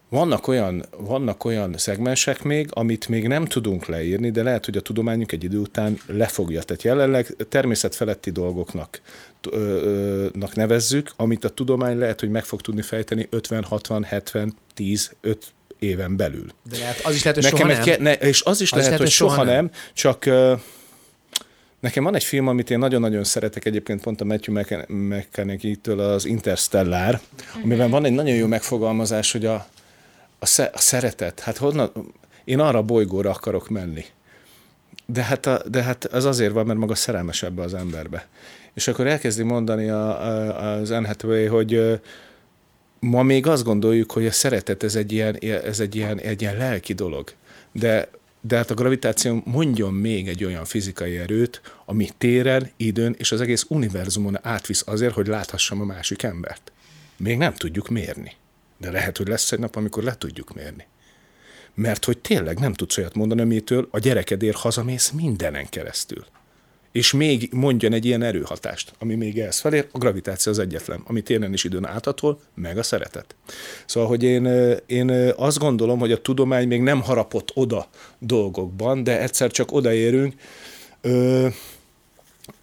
vannak olyan, vannak olyan szegmensek még, amit még nem tudunk leírni, de lehet, hogy a tudományunk egy idő után lefogja. Tehát jelenleg természetfeletti dolgoknak t- ö, ö, nak nevezzük, amit a tudomány lehet, hogy meg fog tudni fejteni 50, 60, 70, 10, 5 éven belül. De lehet, az is lehet, hogy Nekem soha egy nem. ke- ne, és az is az lehet, lehet, hogy soha nem, nem csak ö, nekem van egy film, amit én nagyon-nagyon szeretek egyébként, pont a Matthew McCann- McConaughey-től az Interstellar, amiben van egy nagyon jó megfogalmazás, hogy a, a, sze, a szeretet, hát honnan, én arra a bolygóra akarok menni. De hát, a, de hát az azért van, mert maga szerelmes ebbe az emberbe. És akkor elkezdi mondani a, a, az Anne Hathaway, hogy ö, ma még azt gondoljuk, hogy a szeretet ez egy ilyen, ez egy ilyen, egy ilyen lelki dolog. De, de hát a gravitáció mondjon még egy olyan fizikai erőt, ami téren, időn és az egész univerzumon átvisz azért, hogy láthassam a másik embert. Még nem tudjuk mérni. De lehet, hogy lesz egy nap, amikor le tudjuk mérni. Mert hogy tényleg nem tudsz olyat mondani, amitől a gyerekedért hazamész mindenen keresztül. És még mondjon egy ilyen erőhatást, ami még ehhez felér, a gravitáció az egyetlen, ami téren is időn áthatol, meg a szeretet. Szóval, hogy én, én azt gondolom, hogy a tudomány még nem harapott oda dolgokban, de egyszer csak odaérünk. Ö,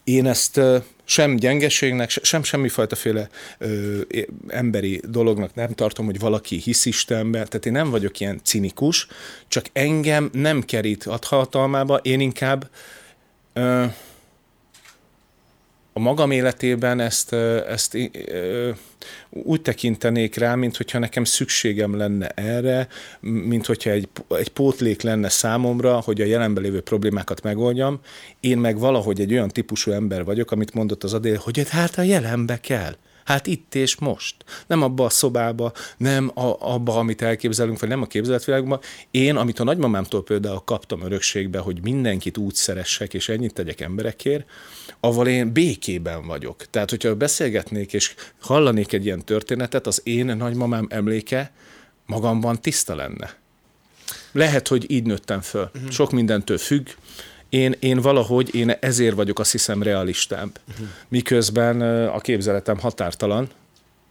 én ezt sem gyengeségnek, sem semmifajtaféle ö, emberi dolognak nem tartom, hogy valaki hisz Istenbe, tehát én nem vagyok ilyen cinikus, csak engem nem kerít a hatalmába, én inkább ö, a magam életében ezt, ezt ö, úgy tekintenék rá, mint hogyha nekem szükségem lenne erre, mint hogyha egy, egy pótlék lenne számomra, hogy a jelenben lévő problémákat megoldjam. Én meg valahogy egy olyan típusú ember vagyok, amit mondott az Adél, hogy hát a jelenbe kell. Hát itt és most. Nem abba a szobába, nem a, abba, amit elképzelünk, vagy nem a képzeletvilágban. Én, amit a nagymamámtól például kaptam örökségbe, hogy mindenkit úgy szeressek, és ennyit tegyek emberekért, avval én békében vagyok. Tehát, hogyha beszélgetnék, és hallanék egy ilyen történetet, az én nagymamám emléke magamban tiszta lenne. Lehet, hogy így nőttem föl. Uh-huh. Sok mindentől függ, én, én valahogy, én ezért vagyok azt hiszem realistább. Uh-huh. Miközben a képzeletem határtalan,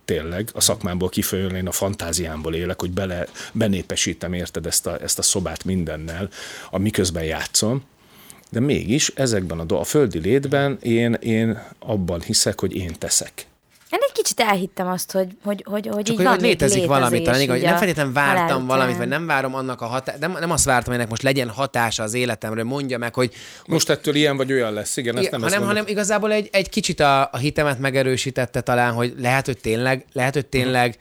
tényleg, a szakmámból kifolyólag én a fantáziámból élek, hogy bele, benépesítem, érted, ezt a, ezt a szobát mindennel, a miközben játszom. De mégis ezekben a, do- a földi létben én, én abban hiszek, hogy én teszek. Én egy kicsit elhittem azt, hogy, hogy, hogy, hogy Csak hogy, így hogy van, hát létezik valami, létezés, talán igen, hogy így nem a feltétlenül halál vártam után. valamit, vagy nem várom annak a hatá... nem, nem azt vártam, hogy ennek most legyen hatása az életemre, mondja meg, hogy Most ettől ilyen vagy olyan lesz, igen, ezt nem hanem, ezt hanem igazából egy, egy kicsit a, a hitemet megerősítette talán, hogy lehet, hogy tényleg, lehet, Mhm. hogy tényleg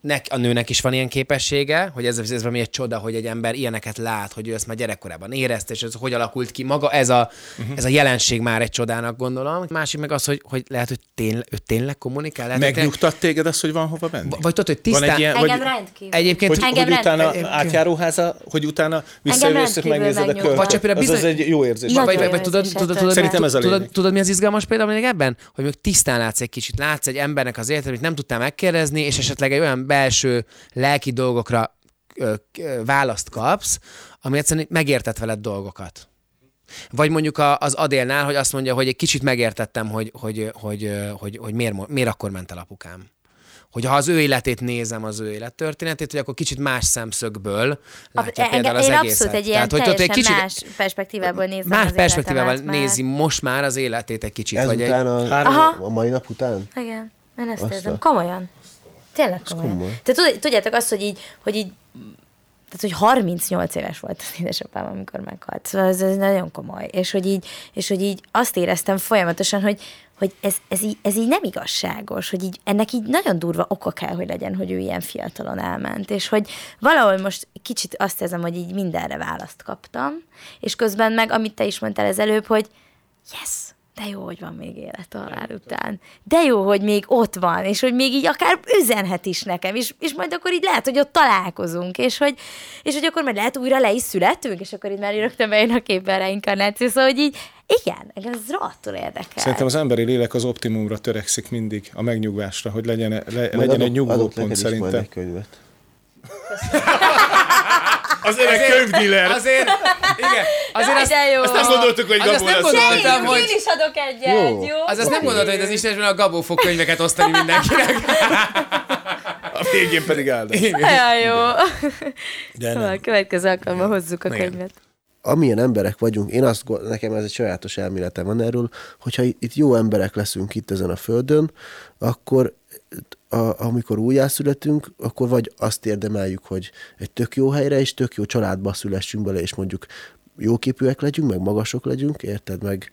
nek, a nőnek is van ilyen képessége, hogy ez, ez valami egy csoda, hogy egy ember ilyeneket lát, hogy ő ezt már gyerekkorában érezte, és ez hogy alakult ki maga, ez a, Mhm. uh-huh. ez a jelenség már egy csodának gondolom. Másik meg az, hogy, hogy lehet, hogy tényleg, ő tényleg kommunikál. Lehet, hogy tényleg- Megnyugtat téged az, hogy van hova menni? Vagy tudod, hogy Van tisztán... egy ilyen- Engem vagy- rendkívül. Egyébként hogy, hogy Engem utána rendkívül- átjáróháza, hogy utána visszajössz és rendkívül megnézed a megnyugtat. kört. Vagy csak például az, az bizony- egy jó érzés. Nagyon vagy, vagy, vagy jó tudod, érzés, tudod, hát tudod, Szerintem ez a tudod, lényeg. tudod, mi az izgalmas példa még ebben? Hogy még tisztán látsz egy kicsit, látsz egy embernek az életet, amit nem tudtál megkérdezni, és esetleg egy olyan belső lelki dolgokra ö, ö, választ kapsz, ami egyszerűen megértett veled dolgokat. Vagy mondjuk a- az Adélnál, hogy azt mondja, hogy egy kicsit megértettem, hogy, hogy, hogy, hogy, hogy, hogy miért, mo- miért akkor ment el apukám. Hogy ha az ő életét nézem, az ő élettörténetét, hogy akkor kicsit más szemszögből látja Engem- például az én egészet. abszolút egy ilyen hogy tudod, hogy egy teljesen más perspektívából nézem más az perspektívával életemet már. nézi most már az életét egy kicsit. vagy egy... Ezután a, Aha. a mai nap után? Igen, én ezt Azt érzem. a- Komolyan. Tényleg komolyan. komoly. Te tud, tudjátok azt, hogy így, hogy így tehát, hogy 38 éves volt az édesapám, amikor meghalt. Szóval ez, ez nagyon komoly. És hogy, így, és hogy így azt éreztem folyamatosan, hogy, hogy ez, ez, így, ez így nem igazságos, hogy így, ennek így nagyon durva oka kell, hogy legyen, hogy ő ilyen fiatalon elment. És hogy valahol most kicsit azt érzem, hogy így mindenre választ kaptam, és közben meg, amit te is mondtál ezelőbb, hogy yes, de jó, hogy van még élet a halál után. De jó, hogy még ott van, és hogy még így akár üzenhet is nekem, és, és majd akkor így lehet, hogy ott találkozunk, és hogy, és hogy akkor majd lehet újra le is születünk, és akkor itt már így rögtön bejön a képbe a reinkarnáció, szóval hogy így, igen, engem ez rohadtul érdekel. Szerintem az emberi lélek az optimumra törekszik mindig, a megnyugvásra, hogy legyen, le, Majd legyen egy adok- adok neked nyugvópont is majd szerintem. egy könyvet. Az öreg könyvdiller! Azért, igen, azért Jaj, azt, de jó. azt nem Azt gondoltuk, hogy azt Gabó nem lesz. gondoltam, Én hogy... is adok egyet, jó? jó? Az azt nem gondoltam, hogy az Istenben a Gabó fog könyveket osztani mindenkinek. A végén pedig áldás. Olyan jó. De Szóval a következő alkalommal hozzuk a könyvet. Amilyen emberek vagyunk, én azt, gond- nekem ez egy sajátos elméletem van erről, hogyha i- itt jó emberek leszünk itt ezen a földön, akkor a, amikor újjászületünk, akkor vagy azt érdemeljük, hogy egy tök jó helyre és tök jó családba szülessünk bele, és mondjuk jóképűek legyünk, meg magasok legyünk, érted? Meg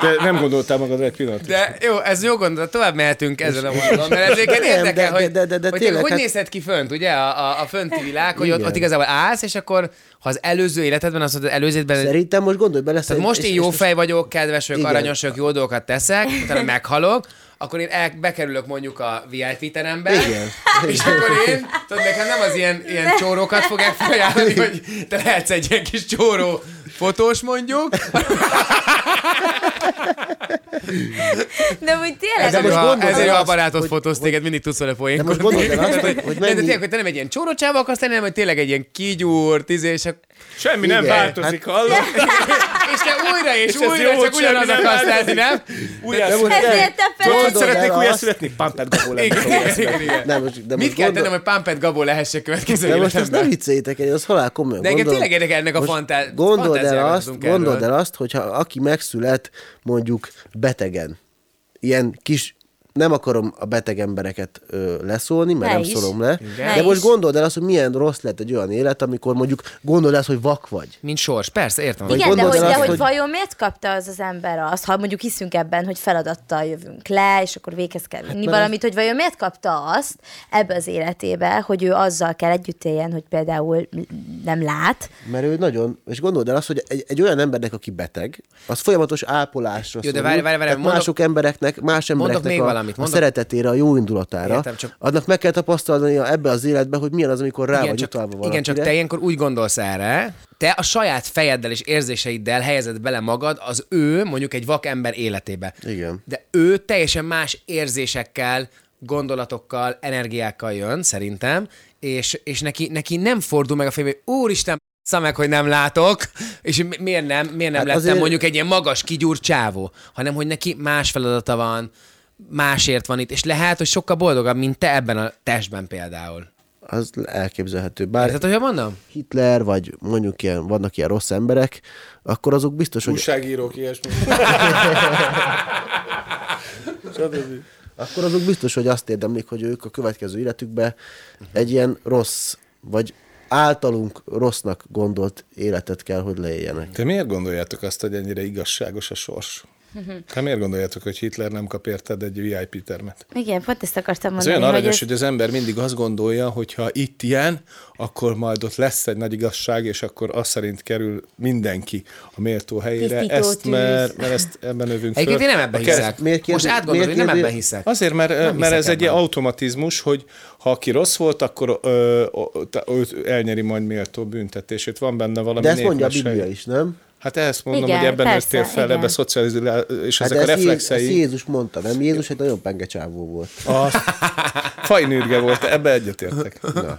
De nem gondoltál magad egy pillanat. De jó, ez jó gondolat, tovább mehetünk ezen a vonalon, mert ez egyébként Nem, de- érdekel, de- hogy, de- de- de hogy, tényleg, hogy hát- nézhet ki fönt, ugye, a, a, a fönti világ, hogy ott, Igen. ott igazából állsz, és akkor ha az előző életedben, azt mondod, az előzőben szerintem most gondolj bele, Tehát szerint- most és- én és jó most- fej vagyok, kedves vagyok, Igen. aranyos vagyok, jó dolgokat teszek, utána meghalok, akkor én el, bekerülök mondjuk a VIP terembe, Igen. és akkor én, tudod, nekem nem az ilyen, ilyen csórókat fogják felajánlani, hogy te lehetsz egy ilyen kis csóró fotós mondjuk, De úgy tényleg, De ezért, most ha, gondold ezért, el ha a azt, barátod hogy- fotóz téged, mindig tudsz vele De poénkodni. most gondold el azt, hogy- hogy hogy, de, de mennyi- tényleg, hogy te nem egy ilyen csórócsába akarsz lenni, hanem hogy tényleg egy ilyen kigyúrt, izé, és, ak- Semmi nem Igen, változik, hallod? és te újra és, És ez újra jó, csak hogy ugyanaz semmi nem akarsz lenni, változik. nem? Újjá De most- születnék. ezért te Tudod, feled. Gondold Szeretnék el újjá azt- születni? Pampet Gabó lenni. Igen, igen, igen, igen. De most, de Mit most kell gondol- tennem, hogy Pámpet Gabó lehessek következő De most ezt életemben? nem vicceljétek el, az halál komolyan. De engem gondolom. tényleg érdekelnek a Most fantá- Gondold el fantáziák, azt, tudunk erről. gondold el azt, hogyha aki megszület mondjuk betegen, ilyen kis nem akarom a beteg embereket ö, leszólni, mert Ne nem is. szólom le. Ne De most is. gondold el azt, hogy milyen rossz lett egy olyan élet, amikor mondjuk gondold el, hogy vak vagy. Nincs sors, persze, értem. Vagy Igen, de gondold hogy, el de hogy azt, hogy- vajon miért kapta az az ember azt, ha mondjuk hiszünk ebben, hogy feladattal jövünk le, és akkor véghez kell Hát vinni valamit, hogy vajon miért kapta azt ebbe az életébe, hogy ő azzal kell együtt éljen, hogy például nem lát. Mert ő nagyon, és gondold el azt, hogy egy, egy olyan embernek, aki beteg, az folyamatos ápolásra Jó, de szorul, várj, várj, várj, tehát mondok- mások embereknek, más embereknek még a, valamit, a mondok- szeretetére, a jó indulatára, Értem, csak- annak meg kell tapasztalnia ebbe az életbe, hogy milyen az, amikor rá Igen vagy csak, utalva valamire. igen, csak te ilyenkor úgy gondolsz erre, te a saját fejeddel és érzéseiddel helyezed bele magad az ő, mondjuk egy vakember életébe. Igen. De ő teljesen más érzésekkel, gondolatokkal, energiákkal jön, szerintem, és, és neki, neki nem fordul meg a fejbe, hogy úristen, bassza meg, hogy nem látok, és mi- miért nem, miért nem Hát hát lettem azért- mondjuk egy ilyen magas, kigyúrt csávó, hanem hogy neki más feladata van, másért van itt, és lehet, hogy sokkal boldogabb, mint te ebben a testben például. Az elképzelhető. Bár Érted, hogy mondom? Hitler, vagy mondjuk ilyen, vannak ilyen rossz emberek, akkor azok biztos, hogy, Újságírók, ilyesmi. Stb. akkor azok biztos, hogy azt érdemlik, hogy ők a következő életükbe Mhm. egy ilyen rossz, vagy általunk rossznak gondolt életet kell, hogy leéljenek. Te miért gondoljátok azt, hogy ennyire igazságos a sors? Te miért gondoljátok, hogy Hitler nem kap érted egy VIP termet? Igen, pont ezt akartam Ez mondani. olyan hogy aranyos, ez- hogy az ember mindig azt gondolja, hogy ha itt ilyen, akkor majd ott lesz egy nagy igazság, és akkor azt szerint kerül mindenki a méltó helyére. Tisztító Ezt, tűz. mert, mert ezt ebben övünk Egyébként én föl. nem ebben A kereszt- hiszek. miért Most kérde- átgondolom, én miért nem kérde- ebben hiszek. Azért, mert, mert hiszek ez egy ebben. ilyen automatizmus, hogy ha aki rossz volt, akkor ö, ö, te- őt elnyeri majd méltó büntetését. Van benne valami De ezt mondja a népmesei. Biblia is, nem? Hát ezt mondom, Igen, hogy ebben persze, nőttél fel, igen. ebben szocializál, és Hát ezek a de ezt Jé- ezt reflexei. Jézus mondta, nem? Jézus egy nagyon pengecsávó volt. A fajnürge volt, ebbe egyetértek. Na.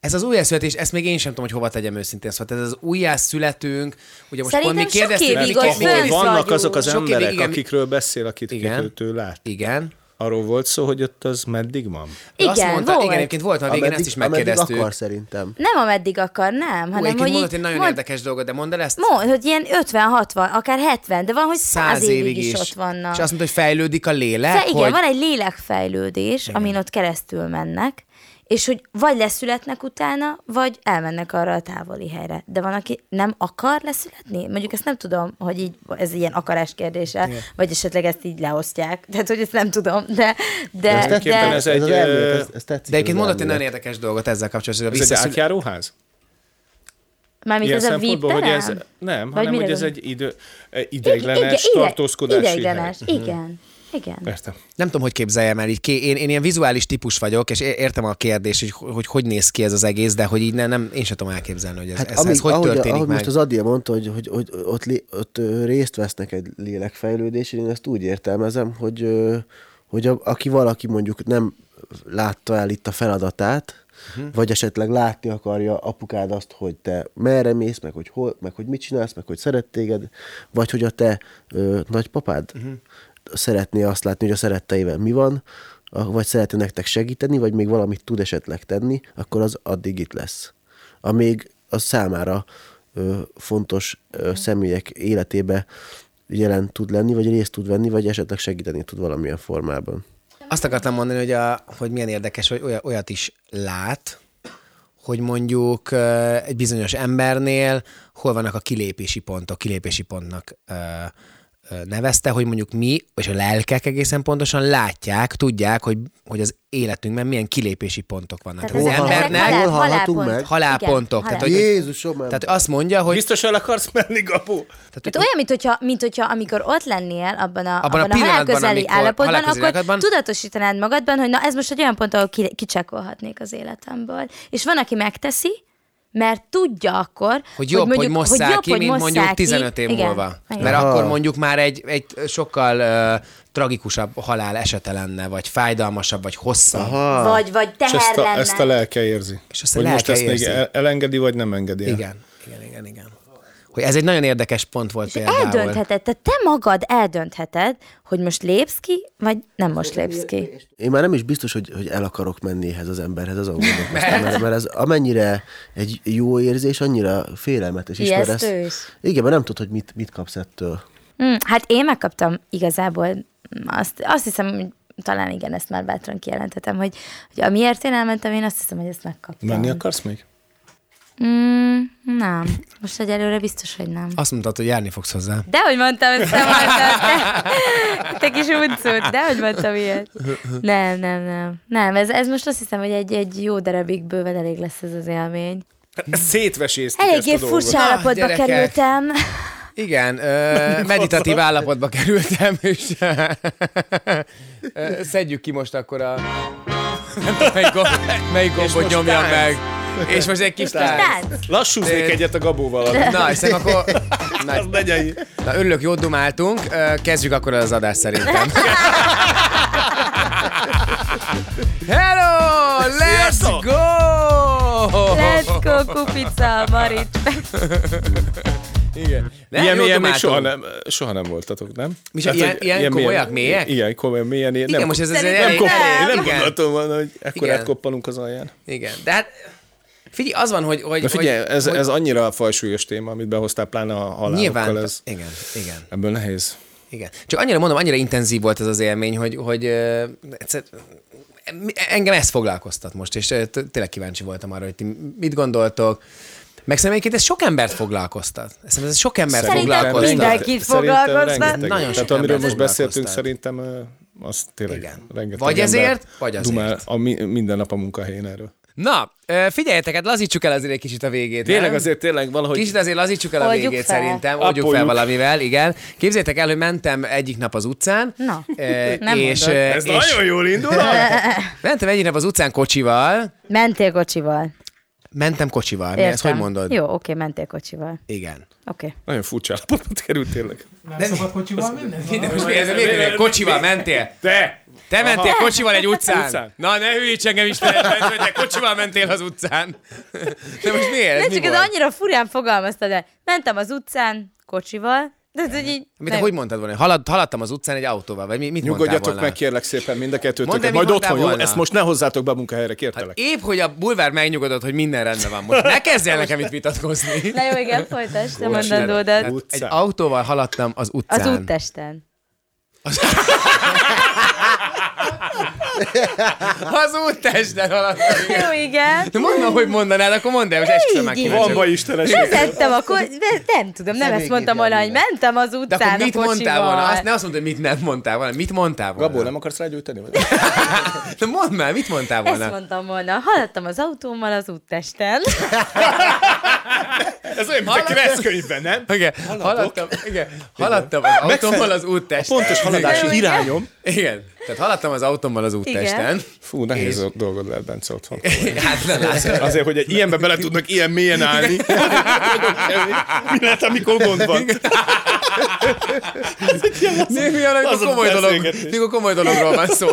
Ez az újjászületés, ezt még én sem tudom, hogy hova tegyem őszintén. Szóval tehát ez az újjászületünk, ugye most Szerintem pont még sok kérdeztük, mi évig ott kérdeztük- fönn Ahol vannak azok az Sok évig, emberek, igen. akikről beszél, akit Igen. kitőtő lát. Igen. Arról volt szó, hogy ott az meddig van? Igen, azt Igen, mondta, volt. igen, egyébként volt, már végén ezt is megkérdeztük. akar szerintem. Nem ameddig akar, nem, Hú, hanem egyébként hogy mondott így, egy nagyon mond, érdekes dolgot, de mondd el ezt. mond, hogy ilyen 50-60, akár 70, de van, hogy 100 Száz évig is, ott vannak. És azt mondta, hogy fejlődik a lélek, Fe, Szóval igen, hogy... van egy lélekfejlődés, igen. amin ott keresztül mennek, és hogy vagy leszületnek utána, vagy elmennek arra a távoli helyre. De van, aki nem akar leszületni? Mondjuk ezt nem tudom, hogy így, ez ilyen akarás kérdése, igen. vagy esetleg ezt így leosztják. Tehát, hogy ezt nem tudom, de... de, de, tulajdonképpen de ez egy, az ö, elmélet, ez, ez tetszik. De egyébként ez az mondott egy elmélet. nagyon érdekes dolgot ezzel kapcsolatban, hogy a Ez egy visszaszület... átjáróház? mármint Ilyen ez a szempontból, hogy ez vígterem? nem, Vagy hanem mire hogy ez gondolsz? egy idő, e, Igen, ideiglenes igen, tartózkodási Ideiglenes, hely. Mhm. igen. Igen. Értem. Nem tudom, hogy képzeljem el, így ké- én, én ilyen vizuális típus vagyok, és é- értem a kérdést, hogy hogy, hogy hogy néz ki ez az egész, de hogy így ne, nem, én sem tudom elképzelni, hogy ez, hát, ez, ez hogy ahogy, történik ahogy meg. most az Adél mondta, hogy, hogy, hogy ott, lé, ott ö, részt vesznek egy lélekfejlődésen, én ezt úgy értelmezem, hogy, ö, hogy a, aki valaki mondjuk nem látta el itt a feladatát, Mhm. uh-huh. vagy esetleg látni akarja apukád azt, hogy te merre mész, meg hogy, hol, meg hogy mit csinálsz, meg hogy szeret téged, vagy hogy a te ö, nagypapád Mhm. uh-huh. szeretné azt látni, hogy a szeretteivel mi van, a- vagy szeretne nektek segíteni, vagy még valamit tud esetleg tenni, akkor az addig itt lesz amíg a számára ö, fontos ö, Mhm. személyek életébe jelen tud lenni, vagy részt tud venni, vagy esetleg segíteni tud valamilyen formában. Azt akartam mondani, hogy, a, hogy milyen érdekes, hogy olyat, olyat is lát, hogy mondjuk ö, egy bizonyos embernél hol vannak a kilépési pontok, kilépési pontnak ö, nevezte, hogy mondjuk mi, és a lelkek egészen pontosan látják, tudják, hogy, hogy az életünkben milyen kilépési pontok vannak. Tehát ezek- az ezek embernek halál- hol hallhatunk halálpont. meg? halálpontok. Igen, tehát, halál. hogy, Jézusom, ember. tehát azt mondja, hogy Biztos el akarsz menni, Gabu? Tehát olyan, mint hogyha, mint hogyha amikor ott lennél abban a, Abban a abban a, halál pillanatban, közeli amikor- állapotban, halál közeli akkor állapotban. tudatosítanád magadban, hogy na ez most egy olyan pont, ahol ki, kicsakolhatnék az életemből. És van, aki megteszi, mert tudja akkor, Hogy jobb, hogy, mondjuk, hogy mosszák jobb, ki, hogy mint mosszák mondjuk ki. 15 év Igen. múlva. Igen. Mert Aha. akkor mondjuk már egy, egy sokkal uh, tragikusabb halál esete lenne, vagy fájdalmasabb, vagy hosszabb. Aha. Vagy, vagy És teher ezt a, lenne. ezt a lelke érzi. És ezt a hogy most lelke ezt még érzi. el- elengedi, vagy nem engedi el. Igen, igen, igen, igen. Hogy ez egy nagyon érdekes pont volt És például. eldöntheted, tehát te magad eldöntheted, hogy most lépsz ki, vagy nem most lépsz ki. Én már nem is biztos, hogy, hogy el akarok menni ehhez az emberhez, az gondolkoztam, mert, mert ez amennyire egy jó érzés, annyira félelmetes is. mert Ijesztő ez- is. Igen, mert nem tudod, hogy mit, mit kapsz ettől. Mm, hát én megkaptam igazából mm, azt, azt hiszem, hogy talán igen, ezt már bátran kijelenthetem, hogy, hogy amiért én elmentem, én azt hiszem, hogy ezt megkaptam. Menni akarsz még? Mm, nem. Most egyelőre biztos, hogy nem. Azt mondtad, hogy járni fogsz hozzá. De hogy mondtam, ezt nem mondtam. Te, te kis uncut, de hogy mondtam ilyet. Nem, nem, nem. Nem, ez, ez most azt hiszem, hogy egy, egy jó darabig bőven elég lesz ez az élmény. Szétveséztük Eléggé ezt a dolgot. furcsa Ah, állapotba gyerekek. kerültem. Igen, ö, meditatív állapotba kerültem, és ö, szedjük ki most akkor a... Nem tudom, melyik, gomb, melyik gombot most nyomjam tánc. meg. És most egy kis tánc. Tánc. Lassúznék egyet a Gabóval. Na, hiszem akkor... Na, Az legyen. Na, örülök, jót dumáltunk. Ö, Kezdjük akkor az adást szerintem. Hello! Let's Sziasztok! go! Let's go, kupica, Marit. Igen. Ne, Ilyen jót mélyen még dumáltunk. soha nem, soha nem voltatok, nem? Mi se- ilyen- hogy ilyen komolyak, mélyek? Igen, komolyan mélyen. Igen, nem, most ez azért nem, elég- koppal- én Igen. nem gondoltam volna, hogy Igen. ekkor koppalunk az alján. Igen, de hát figyelj, az van, hogy... hogy De figyelj, hogy, ez, hogy ez annyira fajsúlyos téma, amit behoztál, pláne a Nyilván, halálokkal. Ez, igen, igen, ebből nehéz. igen. Csak annyira mondom, annyira intenzív volt ez az élmény, hogy, hogy ö, egyszer, engem ez foglalkoztat most, és ö, t- tényleg kíváncsi voltam arra, hogy ti mit gondoltok. Meg szerintem egyébként ez sok embert foglalkoztat. Szerintem ez sok embert Szerintem foglalkoztat. mindenki. mindenkit Szerintem foglalkoztat. rengetegen. Nagyon sok Tehát amiről embert most beszéltünk, foglalkoztat. szerintem ö, az tényleg Igen. rengeteg Vagy ember ezért, vagy azért. Dumál a mi, minden nap a munkahelyén erről. Na, ö, figyeljetek, hát lazítsuk el azért egy kicsit a végét. Tényleg nem? azért, tényleg valahogy... Kicsit azért lazítsuk el a Oldjuk végét fel. szerintem, oldjuk fel Appoljuk. valamivel, igen. Képzétek el, hogy mentem egyik nap az utcán. Na, ö, nem és, mondod. ö, Ez és nagyon jól indul. Mentem egyik nap az utcán kocsival, Mentél kocsival. Mentem kocsival, mi Értem. ezt hogy mondod? Jó, oké, mentél kocsival. Igen. Oké. Nagyon furcsa állapotba került tényleg. De most mi ez a végül, hogy kocsival mentél? De! Te mentél kocsival egy utcán? Utcán. Na ne hűíts engem Istenem, hogy te kocsival mentél az utcán. De most miért? Ne Ez mi csak ez volt? annyira furán fogalmaztad el. Mentem az utcán kocsival, de ez hogy így... Mit, nem- hogy mondtad volna? Halad, haladtam az utcán egy autóval, vagy mi, mit mondtál Nyugodjatok volna? meg, kérlek szépen, mind a Mondd el, kettőtöket. mit Majd mondtál otthon, jó? volna? Ezt most ne hozzátok be a munkahelyre, Hát kértelek. épp, hogy a bulvár megnyugodott, hogy minden rendben van. Most ne kezdjél nekem itt vitatkozni. Na jó, igen, folytasd a Bocs, mondandódat. tehát Egy Utcán. autóval haladtam az utcán. Az úttesten. Az úttesten haladtam. Jó, igen. De mondom, hogy mondanád, akkor mondd el, most esküszöm meg. Igen. kíváncsi Van baj, Istenes! Vezettem a ko- de- nem tudom, nem ezt mondtam volna, hogy mentem az De utcán akkor mit a kocsival. mondtál volna? Azt, ne azt mondd, hogy mit nem mondtál volna. Mit mondtál volna? Gabó, nem akarsz rágyújtani? Vagy? De mondd már, mit mondtál ezt volna? mondtam volna. Haladtam az autómmal az úttesten. Ez olyan, mint a keresztkönyvben, nem? Igen, haladtam, igen, haladtam az autómmal az úttest. Pontos haladási irányom. Igen, tehát haladtam az autómmal az úttesten. Fú, nehéz dolgod lehet, Bence, otthon. Hát nem látsz. Azért, hogy egy ilyenbe bele tudnak ilyen mélyen állni. Mi lehet, amikor gond van? Némi, amikor az a komoly, dolog, beszélgetés. mikor komoly dologról van szó.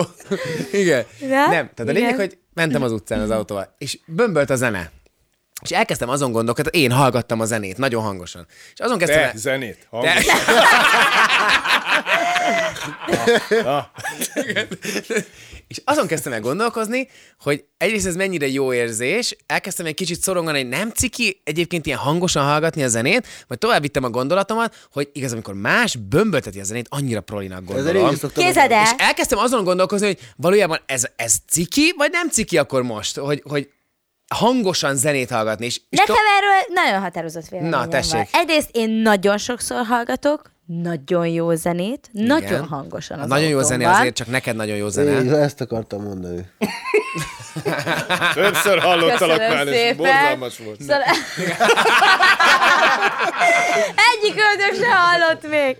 Igen. De? Nem, tehát a lényeg, Igen. hogy mentem az utcán az autóval, és bömbölt a zene. És elkezdtem azon gondolkodni, hát én hallgattam a zenét nagyon hangosan. És azon kezdtem Te, el... zenét. De... hangos. Igen. És azon kezdtem el gondolkozni, hogy egyrészt ez mennyire jó érzés, elkezdtem egy kicsit szorongani, hogy nem ciki egyébként ilyen hangosan hallgatni a zenét, majd tovább vittem a gondolatomat, hogy igaz, amikor más bömbölteti a zenét, annyira prolinak Ez elég gondolom. is szoktam. Kézed És el. elkezdtem azon gondolkozni, hogy valójában ez, ez ciki, vagy nem ciki akkor most, hogy, hogy hangosan zenét hallgatni. És, és to- Nekem erről nagyon határozott véleményem Na, tessék. Van. Egyrészt én nagyon sokszor hallgatok, nagyon jó zenét, Igen. nagyon hangosan az Nagyon jó zené autómban. azért, csak neked nagyon jó Így zene. van, ezt akartam mondani. Többször hallottalak már, Köszönöm és szépen. borzalmas volt. Szóval... Egyik ördög se hallott még.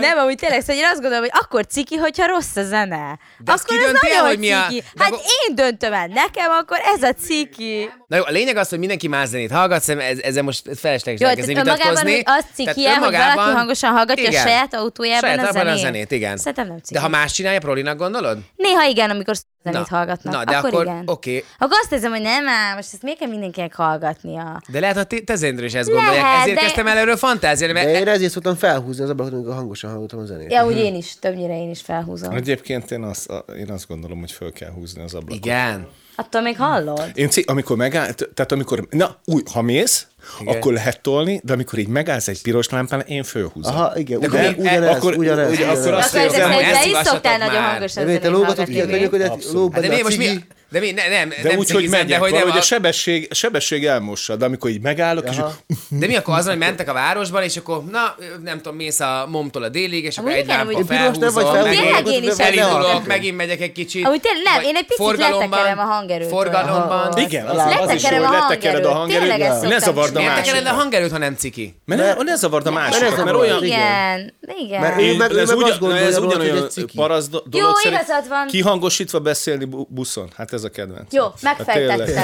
Nem, amúgy tényleg, szóval én azt gondolom, hogy akkor ciki, hogyha rossz a zene. De azt akkor ki ez dönti el, nagyon hogy mi a- ciki. de Hát akkor- én döntöm el, nekem akkor ez a ciki. Na jó, a lényeg az, hogy mindenki más zenét hallgat, szerintem ez, ezzel most felesleges Jó, tehát elkezdeni önmagában, vitatkozni. hogy az ciki Tehát el, hogy önmagában- valaki hangosan hallgatja a Igen. saját autójában saját a autójában zenét. a zenét. igen. Szerintem nem ciki. De ha más csinálja, Prolinak gondolod? Néha igen, amikor sz- zenét Na, hallgatnak. na, de akkor- igen. oké. Akkor azt érzem, hogy nem, á, most ezt miért kell mindenkinek hallgatnia? De lehet, hogy ti- te Zendről is ezt gondolják. Lehet, Ezért de- kezdtem el erről fantáziálni, mert De én ezért szoktam felhúzni az ablakot, amikor hangosan hallgatom a zenét. Mhm. Ja, úgy én is, többnyire én is felhúzom. Egyébként én azt, a- én azt gondolom, hogy föl kell húzni az ablakot. igen. Hát Attól még hallod? Én ci- amikor megáll, t- tehát amikor, na, új, ha mész, Igen. akkor lehet tolni, de amikor így megállsz egy piros lámpán, én fölhúzom. Aha, igen, De ugyan, akkor- ugyanez, akkor- ugyanez, ugye, ugyanez. akkor azt Akkor érzem, ezek hogy szerint ezt te is szogatok szoktál már. nagyon hangosan De miért te zenét lógatott hallgatni. ki még? vagyok, hogy a lógban Hát de a mi most mi? cigi? De mi? Ne, nem, De nem úgy, hogy cigizem, megyek, de hogy nem, valahogy a a- sebesség, sebesség elmossa, de amikor így megállok, és így- De mi akkor az, hogy mentek a városban, és akkor, na, nem tudom, mész a momtól a délig, és akkor Amúgy egy igen, lámpa amúgy- Piros nem vagy felhúzom, felhúzom. megint- Tényleg én is Nem, elindulok. Elindulok, nem. megint megyek egy kicsit. Amúgy tényleg nem, vagy én egy picit forgalomban- letekerem a hangerőtől. Forgalomban. Aha. igen, a az, az is, jó, letekered hogy a letekered a hangerőt. hangerőt, Tényleg ezt ne szoktam zavard a csinálni. Miért tekered a másikat. hangerőt, ha nem ciki? Mert ne, ne zavard a ne másikat, zavard. mert olyan, Igen, igen. Mert Én, Ő meg- ő ez, meg ugyan, azt na, gondolja ez róla, hogy ugyanolyan egy ciki. parasz do- dolog szerint igazad van. kihangosítva beszélni bu- buszon. Hát ez a kedvenc. Hát Jó, megfejtettem.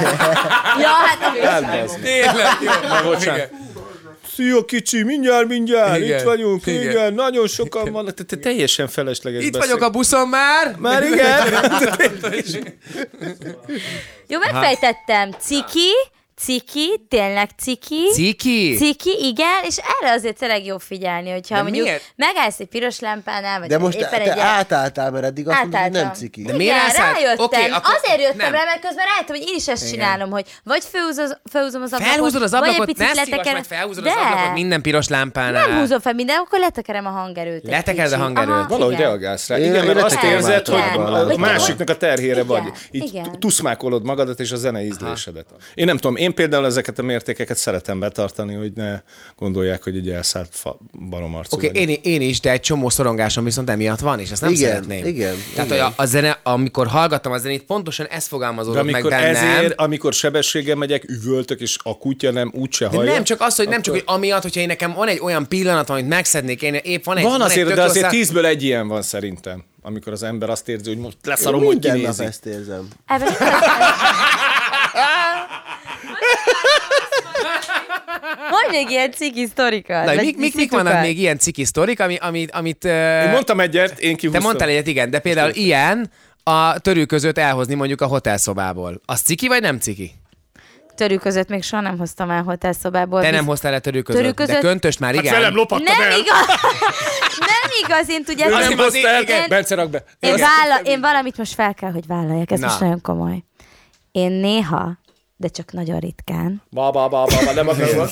Ja, hát Tényleg, jó. bocsánat. Szia kicsi, mindjárt, mindjárt, Igen. itt vagyunk, Igen. igen, nagyon sokan vannak, te, te teljesen felesleges Itt beszél. vagyok a buszon már. Már igen. jó, megfejtettem. Ciki, ciki, tényleg ciki. Ciki? Ciki, igen, és erre azért tényleg jó figyelni, hogyha De mondjuk miért? megállsz egy piros lámpánál, vagy De most éppen te egy átálltál, mert eddig azt mondtad, hogy Átálltam. nem ciki. De miért Igen, állsz át? rájöttem. Oké, Okay, akkor- Azért jöttem nem. rá, mert közben rájöttem, hogy én is ezt csinálom, hogy vagy felhúzom, felhúzom az ablakot, Felhúzod az vagy ablakot, egy ne picit szívass letekerem. meg, felhúzod De. az ablakot minden piros lámpánál. Nem húzom fel minden, akkor letekerem a hangerőt. egy Letekered a kicsit. hangerőt. Aha, Valahogy igen. reagálsz rá. Én- Igen, én mert azt letekerem érzed, hogy általában. a Igen. másiknak a terhére Igen. vagy. Így Igen. tuszmákolod magadat és a zene ízlésedet. Én nem tudom, én például ezeket a mértékeket szeretem betartani, hogy ne gondolják, hogy egy elszállt fa baromarcú Oké, vagyok. okay, én, én is, de egy csomó szorongásom viszont emiatt van, és ezt nem Igen, szeretném. igen, Tehát igen. Hogy a, a zene, amikor hallgattam a zenét, pontosan ez fogalmazódott meg amikor bennem. ezért, amikor sebességgel megyek, üvöltök, és a kutya nem, úgyse De hallja. nem csak az, hogy nem csak, hogy amiatt, hogyha én nekem van egy olyan pillanat, amit megszednék, én épp van egy Van azért, egy de tök azért rossz- tízből egy ilyen van szerintem, amikor az ember azt érzi, hogy most leszarom, hogy Minden nap kinézi. ezt érzem. Ebben igazad van. Mondj még ilyen ciki Na, sztorikat. vagy mik, mik, mik szitukat. vannak még ilyen ciki sztorik, ami, amit, amit ö, Én mondtam egyet, én te kihúztam. mondtál egyet, igen, de például ilyen a törő között elhozni mondjuk a hotelszobából. Az ciki vagy nem ciki? Törő között még soha nem hoztam el hotelszobából. Te Biz- nem hoztál el törő között, Törő de között- köntöst Hát már igen. lopattam Nem igaz. nem igaz, én tudjátok. Nem Nem hozta hozta el, el, igen. Bence, rak be. Én, vála- én valamit most fel kell, hogy vállaljak, ez Na. most nagyon komoly. Én néha, de csak nagyon ritkán, Ba, ba, ba, ba, ba, nem akarom.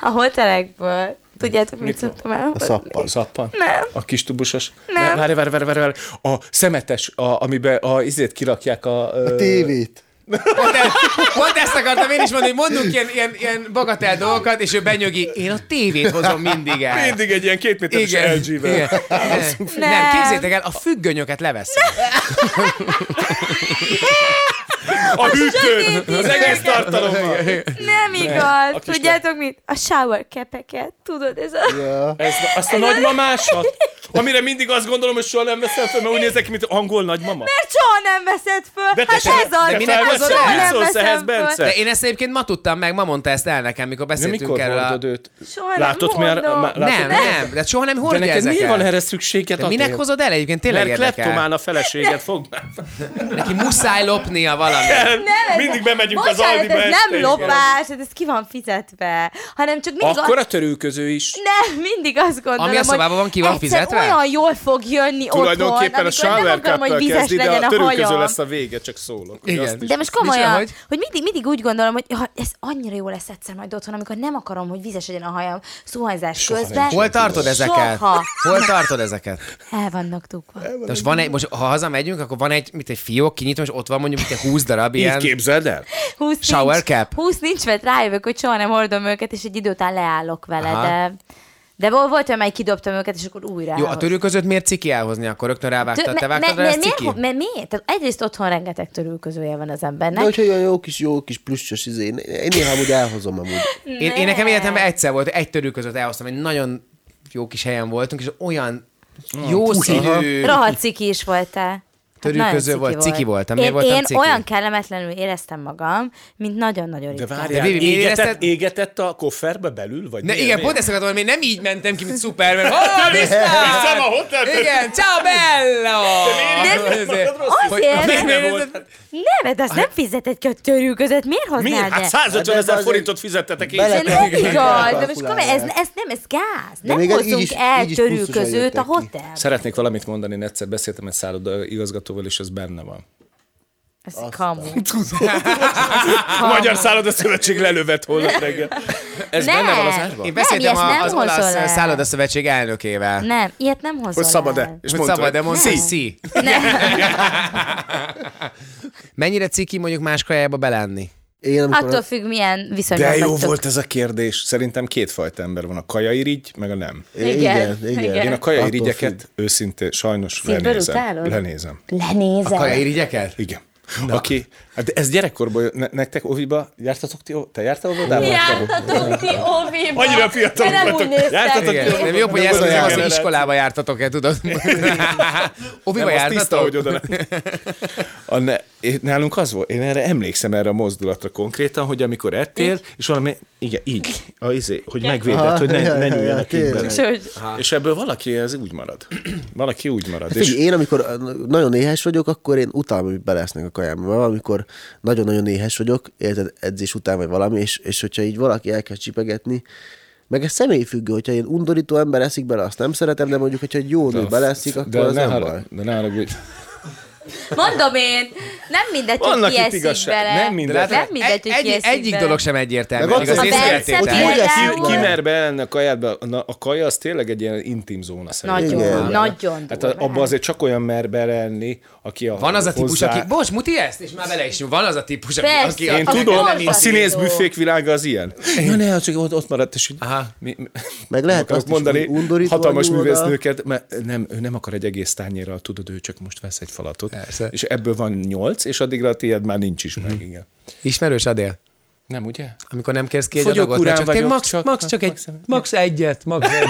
a hotelekből, tudjátok, mit szoktam el? Szappan. Szappan? Nem. A kis tubusos? Nem. Várj, várj, várj, várj, várj. A szemetes, a, amiben a izét kirakják a... A tévét. Pont, e- pont ezt akartam én is mondani, hogy mondunk ilyen, ilyen, ilyen bagatel dolgokat, és ő benyögi, én a tévét hozom mindig el. Mindig egy ilyen két méteres Igen. igen. LG-vel. Nem, képzétek el, a függönyöket leveszem. A hűtőn. sötét Az egész hűtőn. tartalommal. Nem igaz. kis Tudjátok mit? A shower kepeket. Tudod, ez a... Ja. Ez, azt a nagymamásat, amire mindig azt gondolom, hogy soha nem veszem fel, mert úgy nézek ki, mint angol nagymama. Mert soha nem veszed föl. De te hát se- ez az. de minek Hát hozod soha el? nem Mit szólsz veszem ehhez, föl. Bence? De én ezt egyébként ma tudtam meg, ma mondta ezt el nekem, mikor De beszéltünk mikor erről. A... hordod őt? Soha nem Látod, mi a- mondom. már- látod? Nem, nem, de soha nem De hordja neked miért ezeket. van erre szükséged? de minek Attila? hozod el egyébként? Tényleg Mert érdekel. kleptomán a feleséget fog már. Neki muszáj lopnia valamit. Nem, ez- Mindig bemegyünk az Bocsánat, Aldiba ez este, nem és lopás, hát ez ki van fizetve, hanem csak mindig Akkor azt- a törőköző is. Nem, mindig azt gondolom, Ami a szobában hogy van, ki van egyszer fizetve? olyan jól fog jönni Tulajdonképpen otthon, a amikor nem shower akarom, hogy cup vizes kezdi, de legyen a a törőköző hajam. lesz a vége, csak szólok. hogy Igen. azt is- De most Micsoda, komolyan, hogy? hogy? hogy mindig, mindig úgy gondolom, hogy ha, ez annyira jó lesz egyszer majd otthon, amikor nem akarom, hogy vizes legyen a hajam szuhanyzás közben. Hol tartod ezeket? Soha. Hol tartod ezeket? El vannak dugva. De most, van egy, most ha hazamegyünk, akkor van egy, mit egy fiók, kinyitom, és ott van mondjuk itt egy 20 darab Így ilyen. képzeld el? 20 Shower nincs, cap. 20 nincs, mert rájövök, hogy soha nem hordom őket, és egy idő után leállok vele, Aha. de, De vol- volt olyan, amely kidobtam őket, és akkor újra. Jó, a elhoz- törülközőt miért ciki elhozni? Akkor rögtön rávágtad, Tö- te me- vágtad me- rá, ez me- ciki? miért- me- Miért? Tehát egyrészt otthon rengeteg törülközője van az De embernek. hogyha olyan jó kis, jó kis pluszos izé, én, én néha úgy elhozom amúgy. Én, én nekem életemben egyszer volt, egy törülközőt elhoztam, egy nagyon jó kis helyen voltunk, és olyan jó színű... Rohadt ciki is voltál. Hát Törülköző nagyon volt, ciki ciki voltam. Én, Miért voltam én ciki? olyan kellemetlenül éreztem magam, mint nagyon-nagyon De ritkán. várjál, Bibi, miért égetett, érezted- égetett a kofferbe belül? Vagy Ne, miért? igen, Miért? pont ezt akartam, hogy én nem így mentem ki, mint Superman. Hola, vissza! Viszem a hotelbe. Igen, ciao bello! miért Ezért, gondoltad rosszul? hogy- Azért, hogy- mert- miért- volt? Nem, de azt nem fizetett ki a törülközőt, miért hoznád Miért? Hát el? 150 Hát de ezer azért- forintot fizettetek Bele- én. De nem Igen. igaz, de most Kalkulálják. komolyan, ez, ez nem, ez gáz. De nem még így hozunk is- el így is pluszosra törülközőt a jöttek ki. hotel. Szeretnék valamit mondani, én egyszer beszéltem egy szálloda igazgatóval, és ez benne van. Ez kamu. A Magyar Szálloda Szövetség lelövet holnap reggel. Ez Ne! benne van az árban? Én Nem, beszéltem ilyet a, nem az hozol el. olasz szállodaszövetség elnökével. eh, Nem, ilyet nem hozol Hogy szabad-e? el. És Hogy mondta, szabad, de mondta, Nem. szi. Mennyire ciki mondjuk más kajába belenni? Én amikor Attól függ, milyen viszonyban De jó vagytok. volt ez a kérdés. Szerintem kétfajta ember van, a kajairigy, meg a nem. Igen, igen. Én Igen. a kajairigyeket őszintén sajnos Szívből lenézem. utálod? Lenézem. Lenézel. Kajairígyeket? Igen. Na. Aki, hát de ez gyerekkorban, ne, nektek Oviba jártatok ti, te jártál Ovidába? Jártatok ti óvéba. Annyira fiatalok De nem vagytok. úgy néztek Jártatok ki. ti Igen, Jó, nem jobb, hogy nem ezt olyan mondjam, az, hogy generáció. iskolába jártatok-e, tudod? Oviba Nem, az tiszta, jártatok? hogy oda nem. a ne, én- nálunk az volt, én erre emlékszem erre a mozdulatra konkrétan, hogy amikor ettél, és valami, igen, így, a, izé, hogy megvédett, hogy ne, ne nyúljanak így bele. Úgyhogy És ebből valaki ez úgy marad. Valaki úgy marad. Hát Figyelj, És én amikor ö, nagyon éhes vagyok, akkor én utálom, hogy belesznek a kajámba. Mert Amikor nagyon-nagyon éhes vagyok, érted, edzés után vagy valami, és, és hogyha így valaki elkezd csipegetni, meg ez személyfüggő, hogyha ilyen undorító ember eszik bele, azt nem szeretem, de mondjuk, hogyha egy jó nő beleszik, akkor de az ne, nem harag, baj. de ne haragudj. mondom én, nem mindegy, hogy Vannak ki itt eszik igazság- bele. nem mindegy. De Nem látod, mindegy, hogy egy- ki egy- eszik Egyik bele. dolog sem egyértelmű. Meg ott igaz, a én Bence születéktel. például- Hogy ki, Például- ki mer beállni a kajába? Na, a kaja az tényleg egy ilyen intim zóna szerintem. Nagyon, Igen. nagyon Hát a, durván. abba azért csak olyan mer belelni, aki a Van az a típus, hozzá... aki... Bocs, muti ezt? És már bele is nyúl. Van az a típus, aki... Persze. aki- Én Az tudom, borzasztó. a színész büfék világa az ilyen. Ja, ne, az csak ott, ott maradt, és így... Aha. Mi, mi, Meg lehet akarok azt is, hogy undorító hatalmas anyú oda. művésznőket, mert nem, ő nem akar egy egész tányérral, tudod, ő csak most vesz egy falatot. Persze. És ebből van nyolc, és addigra a tiéd már nincs is meg, igen. Ismerős, Adél? Nem, ugye? Amikor nem kérsz ki egy Fogyok, adagot, urán mert csak, te vagyok, max, csak- max, csak egy, max- max egyet, max egyet.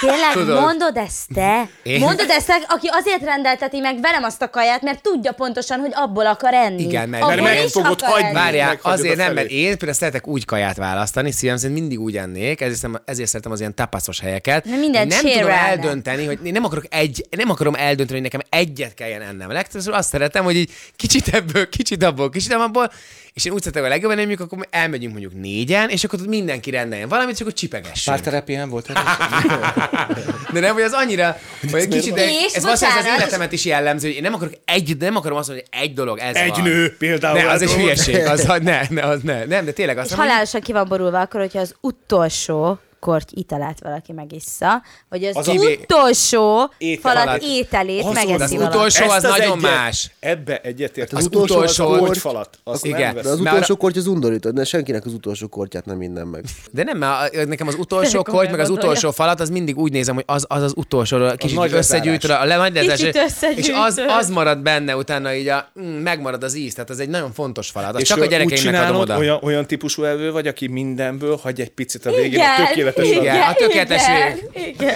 Tényleg Tudod. Tudod. mondod ezt te? Én- Én... Mondod ezt, te, aki azért rendelteti meg velem azt a kaját, mert tudja pontosan, hogy abból akar enni. Igen, mert- abból Mert meg is fogod akar hagyni. enni. Várjál, Meghagyod azért a nem, mert felét. én például szeretek úgy kaját választani, szívem szerint mindig úgy ennék, ezért, szem- ezért szeretem az ilyen tapaszos helyeket. Na, mindent nem tudom sérelnek. eldönteni, hogy én nem akarok egy, nem akarom eldönteni, hogy nekem egyet kelljen ennem. Legtöbbször azt szeretem, hogy így kicsit ebből, kicsit abból, kicsit abból, és én úgy szeretek a legjobban, hogy mondjuk akkor elmegyünk mondjuk négyen, és akkor ott mindenki rendeljen valamit, csak akkor csipegessünk. Párterápián volt hát De nem, hogy az annyira, hogy egy kicsit, de És ez valószínűleg az bocsánat. életemet is jellemző, hogy én nem akarok egy, nem akarom azt mondani, hogy egy dolog, ez Egy van. nő például. Ne, az egy eltolod. hülyeség, az, ne, ne, az ne, nem, de tényleg azt És mondom, hogy- halálosan ki van borulva akkor, hogyha az utolsó korty italát valaki megissza, vagy az, Az az a- utolsó Ételet. falat ételét Az megeszi az valaki. utolsó- Soha az nagyon más. Ebbe egyetért. az utolsó az az korty- kortyfalat. Azt Igen. nem De az vesz. Már- utolsó korty az undorító, de senkinek az utolsó kortyát nem innen meg. De nem, mert a- nekem az utolsó kolt, meg az gondolja. utolsó falat, az mindig úgy nézem, hogy az az, az utolsó, kicsit nagy nagy összegyűjtve, a le- nagy lezárás, Kicsit és az, összegyűjtöd. az marad benne, utána így a, mm, megmarad az íz, tehát az egy nagyon fontos falat. Azt csak ő a úgy gyerekeimnek adom csinálod, oda. Olyan, olyan típusú evő vagy, aki mindenből hagy egy picit a végén, a Igen, tökéletes Igen, legyen. a tökéletes igen, igen,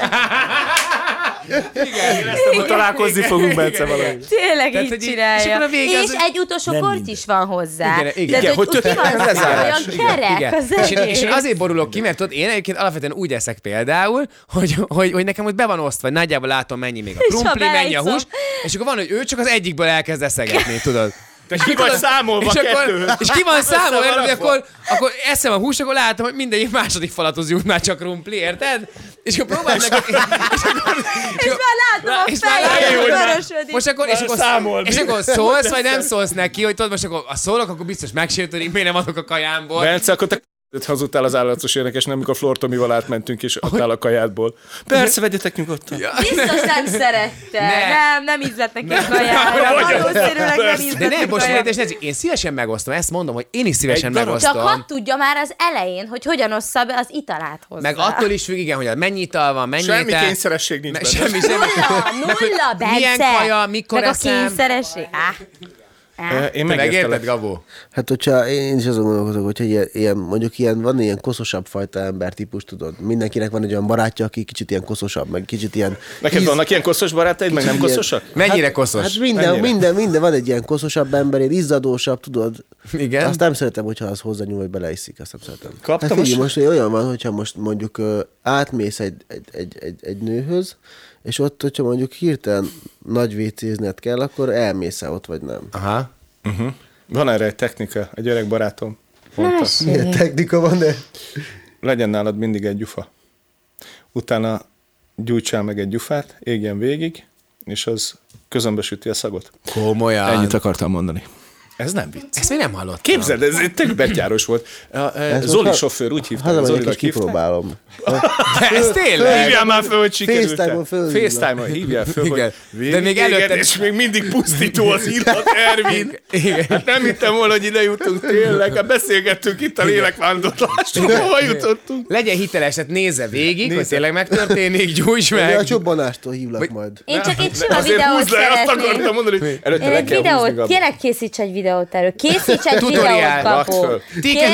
Éreztem, hogy találkozni fogunk, Bence, valami. tényleg Tehát, így hogy így- csinálja. és akkor a vége az, és hogy- egy utolsó korty is van hozzá. Igen, igen. Tehát, Igen, hogy, hogy hogy ki van tök- lezárás. olyan kerek Igen. az És én, és egész. én azért borulok ki, mert tudod, én egyébként alapvetően úgy eszek például, hogy, hogy, hogy nekem ott be van osztva, hogy nagyjából látom, mennyi még a És ha krumpli, mennyi a beiszom. hús, és akkor van, hogy ő csak az egyikből elkezd eszegetni, tudod. Te ki vagy tudod, számolva és, akkor, kettőhöz. és ki van Össze számolva, van érted, hogy rakva. akkor, akkor eszem a hús, akkor látom, hogy mindegyik második falathoz jut már csak krumpli, érted? És akkor próbálom nekik... És, akkor, És már látom a és már fejét, látod, hogy hogy már- vörösödik. Most akkor, és Már akkor, számol, és mi? akkor szólsz, vagy nem szólsz neki, hogy tudod, most akkor ha szólok, akkor biztos megsértődik, miért nem adok a kajámból. Bence, akkor te Öt hazudtál az állatos énekes, nem mikor Flortomival átmentünk, és adtál a kajádból. Persze, vegyetek nyugodtan. Ja. Biztos nem szerette. Ne. Nem, nem ízlett neki a kaját. Vagy- Valószínűleg nem Persze. ízlett De nem, neki most a kaját. miért, és nézd, én szívesen megosztom, ezt mondom, hogy én is szívesen Egy darab. Csak hadd megosztom. tudja már az elején, hogy hogyan ossza be az italát hozzá. Meg attól is függ, igen, hogy mennyi ital van, mennyi Semmi étel. kényszeresség nincs Me- benne. Semmi, semmi. Nulla, nulla, Bence. milyen kaja, mikor Meg eszem. a kényszeresség. Áh, Én Te megérted, megértelek. Gabó? Hát, hogyha én is azon gondolkozok, hogy ilyen, ilyen, mondjuk ilyen, van ilyen koszosabb fajta embertípus, tudod. Mindenkinek van egy olyan barátja, aki kicsit ilyen koszosabb, meg kicsit ilyen... Neked íz- vannak ilyen koszos barátaid, meg nem ilyen- koszosak? Mennyire koszos? Hát minden, Mennyire? minden, minden, van egy ilyen koszosabb ember, ilyen izzadósabb, tudod. Igen. Azt nem szeretem, hogyha az hozzányúl, vagy beleiszik, azt nem szeretem. Kaptam hát figyelj, most- most olyan van, hogyha most mondjuk ö, átmész egy, egy, egy, egy, egy nőhöz, és ott, hogyha mondjuk hirtelen nagy vécézned kell, akkor elmész -e ott, vagy nem. Aha. Van erre egy technika, egy öreg barátom. Mondta, Milyen technika van -e? legyen nálad mindig egy gyufa. Utána gyújtsál meg egy gyufát, égjen végig, és az közömbösíti a szagot. Komolyan. Ennyit akartam mondani. Ez nem vicc. Ezt még nem hallottam. Képzeld, ez egy tök betyáros volt. A, e, Zoli sofőr úgy hívták, Hazamegyek és Zolinak hívták. kipróbálom. De ez tényleg? Hívjál már föl, hogy sikerült. FaceTime-on fölhívnak. FaceTime-on hívjál föl, Igen. hogy De végig még még előtte- előtte... és még mindig pusztító az illat, Ervin. Igen. Hát nem hittem volna, hogy ide jutunk tényleg. Hát beszélgettünk itt a lélekvándorlásról, hova jutottunk. Legyen hiteles, tehát nézze végig, hogy Nézze. tényleg megtörténik, gyújts Meg. A meg. csobbanástól hívlak majd. Én csak egy sima Azért videót húzd le, azt szeretnék. akartam mondani, hogy előtte Én le egy kell húzni, videót, Gabi. tényleg készíts egy videót erről. Készíts egy Tutoriál, videót, rakd kapó. föl. Tényleg.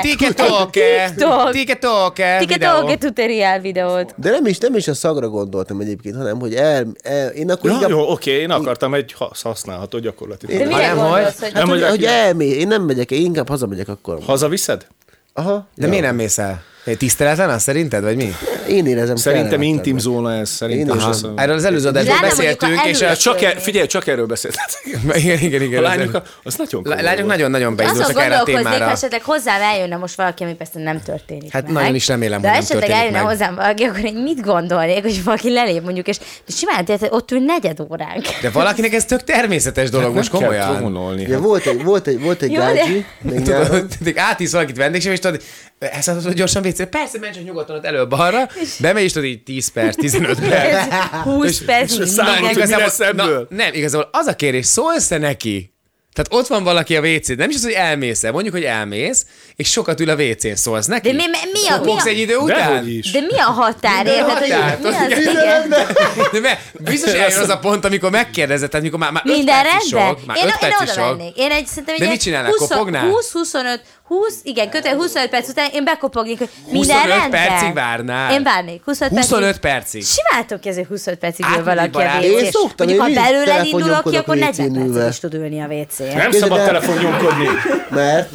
Tiketoke. TikTok. Tiketoke. Tiketoke tutoriál videót. De nem is, nem is a szagra gondoltam egyébként, hanem hogy el, el én akkor Ja, inkább, jó, oké, én akartam egy hasz- használható gyakorlati. De tanácsot. mire nem, hogy- gondolsz, hogy... hát, Nem, hogy, hogy- hogy elmé, én nem megyek, én inkább hazamegyek akkor. Hazaviszed? Aha. De miért nem mész el? Egy Tiszteletlen az szerinted, vagy mi? Én érezem Szerintem kellemetlennek. intim zóna ez, szerintem. Én is. Aha. Aha. Erről az előző adásban Lenne mondjuk a beszéltünk, és a... előző. Csak e, figyelj, csak erről beszéltetek. Igen, igen, igen. A az elő- lányok, a- az nagyon Lá- komoly lányok volt. nagyon-nagyon Azon beindultak erre a gondolkoznék, ha témára. esetleg hozzám eljönne most valaki, ami persze nem történik Hát meg. nagyon is remélem, De hogy nem esetleg történik eljönne meg. hozzám valaki, akkor én mit gondolnék, hogy valaki lelép mondjuk, és de simán tehát ott ül negyed óránk. De valakinek ez tök természetes dolog, most Hát Nem kell hát. komolyan. trónolni. Ugye volt egy, volt egy, volt egy Jó, de- gágyi, még nyáron. Tudod, hogy átísz valakit vendégség, és tudod, ezt tudod, hogy gyorsan vécére, persze, menj csak nyugodtan ott elő balra, bemegy, és tudod, így 10 perc, 15 perc. Ez 20 perc. és számoltuk, mindenki- mi lesz ebből? na, nem, igazából az a kérdés, szólsz-e neki? Tehát ott van valaki a WC-n, nem is az, hogy elmész -e. mondjuk, hogy elmész, és sokat ül a WC-n, szólsz neki. De mi, mi, a, mi, Fogsz egy a, idő után? Dehogy is. de mi a határ? Érted, határ? hogy mi az, Igen. igen? De me, biztos eljön az a pont, amikor megkérdezed, tehát amikor már, már öt Minden perc is rendben? sok, már Én, öt én perc is oda sok. mennék. Én egy, szerintem De egy mit csinálnál? 20, Kopognál? 20, 25, 20, igen, kötő 25 perc után én bekopognék, hogy minden 25 rendben. percig várnál? Én várnék. 25, 25 percig. percig. Simáltok ki azért 25 percig ül Átmenni valaki a barát. WC-n. Én szoktam, Mondjuk, ha én mindig belőled indulok ki, telefonnyomkodok akkor 40 WC-n percig ülve. is tud ülni a WC-n. Nem Képzeld szabad el- telefonnyomkodni. Mert,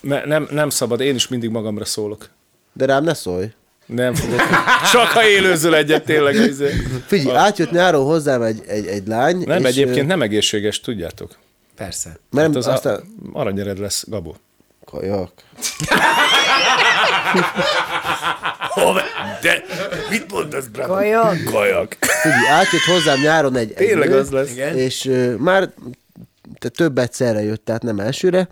Ne, nem, nem szabad, én is mindig magamra szólok. de rám ne szólj. Nem fogok. Csak ha élőzöl egyet, tényleg. izé. Figyelj, átjött nyáron hozzám egy, egy, egy lány. Nem, és, egyébként nem egészséges, tudjátok. Persze. ö, Mert Hát az az aztán... a, aranyered lesz, Gabó. Kajak. De mit mondasz, Brad? Golyog. Kajak. Figyelj, átjött hozzám nyáron egy, egy Tényleg nő, az lesz. Igen. És ö, már te több egyszerre jött, tehát nem elsőre,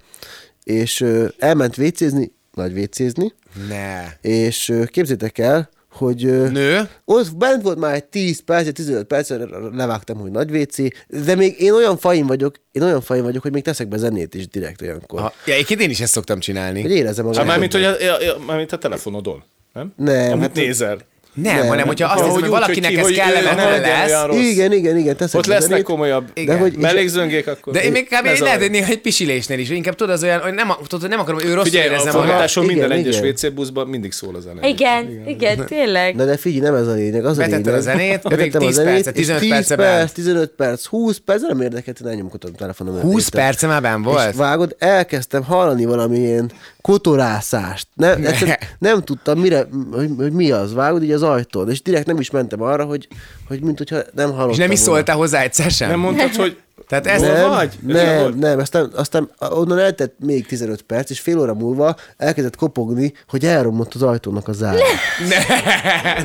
és ö, elment vécézni, nagy vécézni, Ne. és ö, képzétek el, hogy ö, Nő? ott bent volt már egy 10 perc, egy 15 perc, levágtam, hogy nagy WC, de még én olyan fajn vagyok, én olyan fajn vagyok, hogy még teszek be zenét is direkt olyankor. Ha, ja, egyébként én is ezt szoktam csinálni. Hogy érezem magam. Hát mármint, hogy a, a, a, mármint a telefonodon, nem? Nem, Amit hát- nézel. Nem, Nem. hanem hogyha azt Ahogy hiszem, hogy úgy, valakinek ki- ez hogy ő ne kellemetlen legyen lesz, olyan rossz. Igen, igen, igen, teszek Ott be lesznek zenét, komolyabb de hogy, és, mellékzőngék, akkor... De én még kb. Ne zavarj. lehet, hogy néha egy pisilésnél is, hogy inkább tudod, az olyan, hogy nem, tudod, hogy nem akarom, hogy ő rosszul Figyelj, a érezze magát. forgatáson Igen, minden egyes igen. WC buszban mindig szól a zene. Igen, igen, tényleg. Na de figyelj, nem ez a lényeg, az a Betetted lényeg. a zenét, még Betettem 10 percet, és 15 10 perce perc, bent. 15 perc, 20 perc, nem érdekelt, én elnyomkodtam a telefonom. 20 perce már benn volt? És vágod, elkezdtem hallani valamilyen kotorászást. Nem, egyszerűen nem tudtam, mire, hogy, hogy, mi az, vágod így az ajtón, és direkt nem is mentem arra, hogy, hogy mint hogyha nem hallottam És nem is volna. szóltál hozzá egyszer sem? Nem mondtad, hogy Tehát ezt Hol nem, vagy? Ez Nem, nem nem, volt? nem, aztán, aztán onnan eltett még 15 perc, és fél óra múlva elkezdett kopogni, hogy elromlott az ajtónak a zár.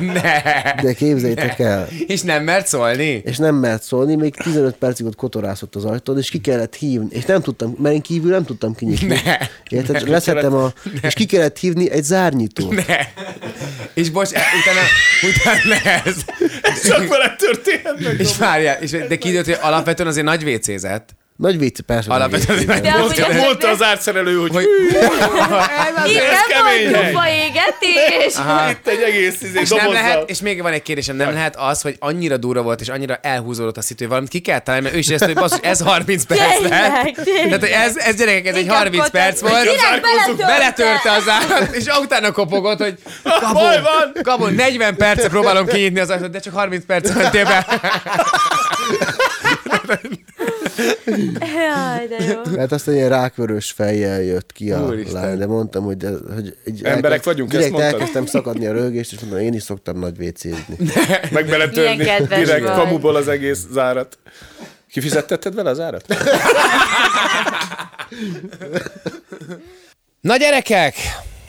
Ne, ne. De képzeljétek el. És nem mert szólni? És nem mert szólni, még 15 percig ott kotorászott az ajtón, és ki kellett hívni, és nem tudtam, mert én kívül nem tudtam kinyitni. Ne, Érted? Csak leszettem a... És ki kellett hívni egy zárnyitót. Ne. És bocs, e- utána, utána ez. Csak vele történhetnek. És várjál, és, de kiderült, hogy alapvetően azért nagy vécézett. Nagy vicc, persze. nem Alapvetően érted. azért De nagy amúgy vécézett. az- Mondta az árszerelő, hogy, Hogy, ez kemény Igen, hely. volt a égetés. itt egy egész izé, és nem dobozzal. lehet, és még van egy kérdésem, nem lehet az, hogy annyira durva volt, és annyira elhúzódott a szitu, hogy valamit ki kell találni, mert ő is ezt, hogy basszus, ez 30 perc lett. Tényleg, tényleg. Tehát hogy ez, ez gyerekek, ez egy Inkább 30 kotor- perc volt. Direkt beletörte. Beletörte az állat, és utána kopogott, hogy Ah, Baj Gabon, van! Gabon, 40 perce próbálom kinyitni az ajtót, de csak 30 perc mentél be. Jaj, de jó. Mert aztán Hát ilyen rákvörös fejjel jött ki a Úristen. lány, de mondtam, hogy, de, hogy egy Emberek vagyunk, ezt direkt mondtad? elkezdtem szakadni a rögést, és mondtam, én is szoktam nagy vécézni. Meg beletörni. Milyen kedves Direkt vagy. kamuból az egész zárat. Kifizettetted vele az árat? Na gyerekek,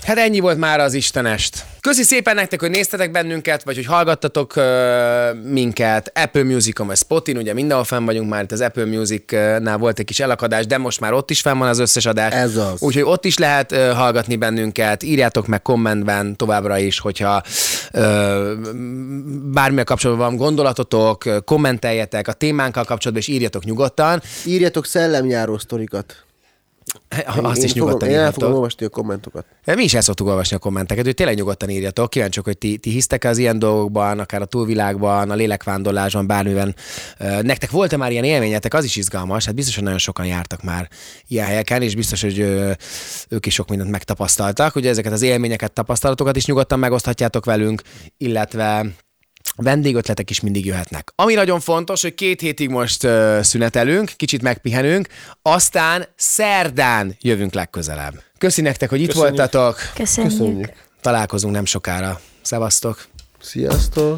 hát ennyi volt már az Istenest. Köszi szépen nektek, hogy néztetek bennünket, vagy hogy hallgattatok ö, minket Apple Music-on, vagy Spotin, ugye mindenhol fenn vagyunk már, itt az Apple Music-nál volt egy kis elakadás, de most már ott is fenn van az összes adás. Ez az. Úgyhogy ott is lehet ö, hallgatni bennünket, írjátok meg kommentben továbbra is, hogyha ö, bármilyen kapcsolatban van gondolatotok, ö, kommenteljetek a témánkkal kapcsolatban, és írjatok nyugodtan. Írjatok szellemjáró sztorikat. Azt én is nyugodtan fogom, Én el fogom írhatok. olvasni a kommentokat. De Mi is el szoktuk olvasni a kommenteket, hogy tényleg nyugodtan írjatok. Kíváncsiak, hogy ti, ti hisztek az ilyen dolgokban, akár a túlvilágban, a lélekvándorlásban, bármiben. Ö, Nektek volt-e már ilyen élményetek? Az is izgalmas. Hát biztos, hogy nagyon sokan jártak már ilyen helyeken, és biztos, hogy ö, ők is sok mindent megtapasztaltak. Ugye ezeket az élményeket, tapasztalatokat is nyugodtan megoszthatjátok velünk, illetve vendégötletek is mindig jöhetnek. Ami nagyon fontos, hogy két hétig most ö, szünetelünk, kicsit megpihenünk, aztán szerdán jövünk legközelebb. Köszi nektek, hogy itt Köszönjük. voltatok, Köszönjük. Köszönjük. találkozunk nem sokára. Szevasztok! Sziasztok!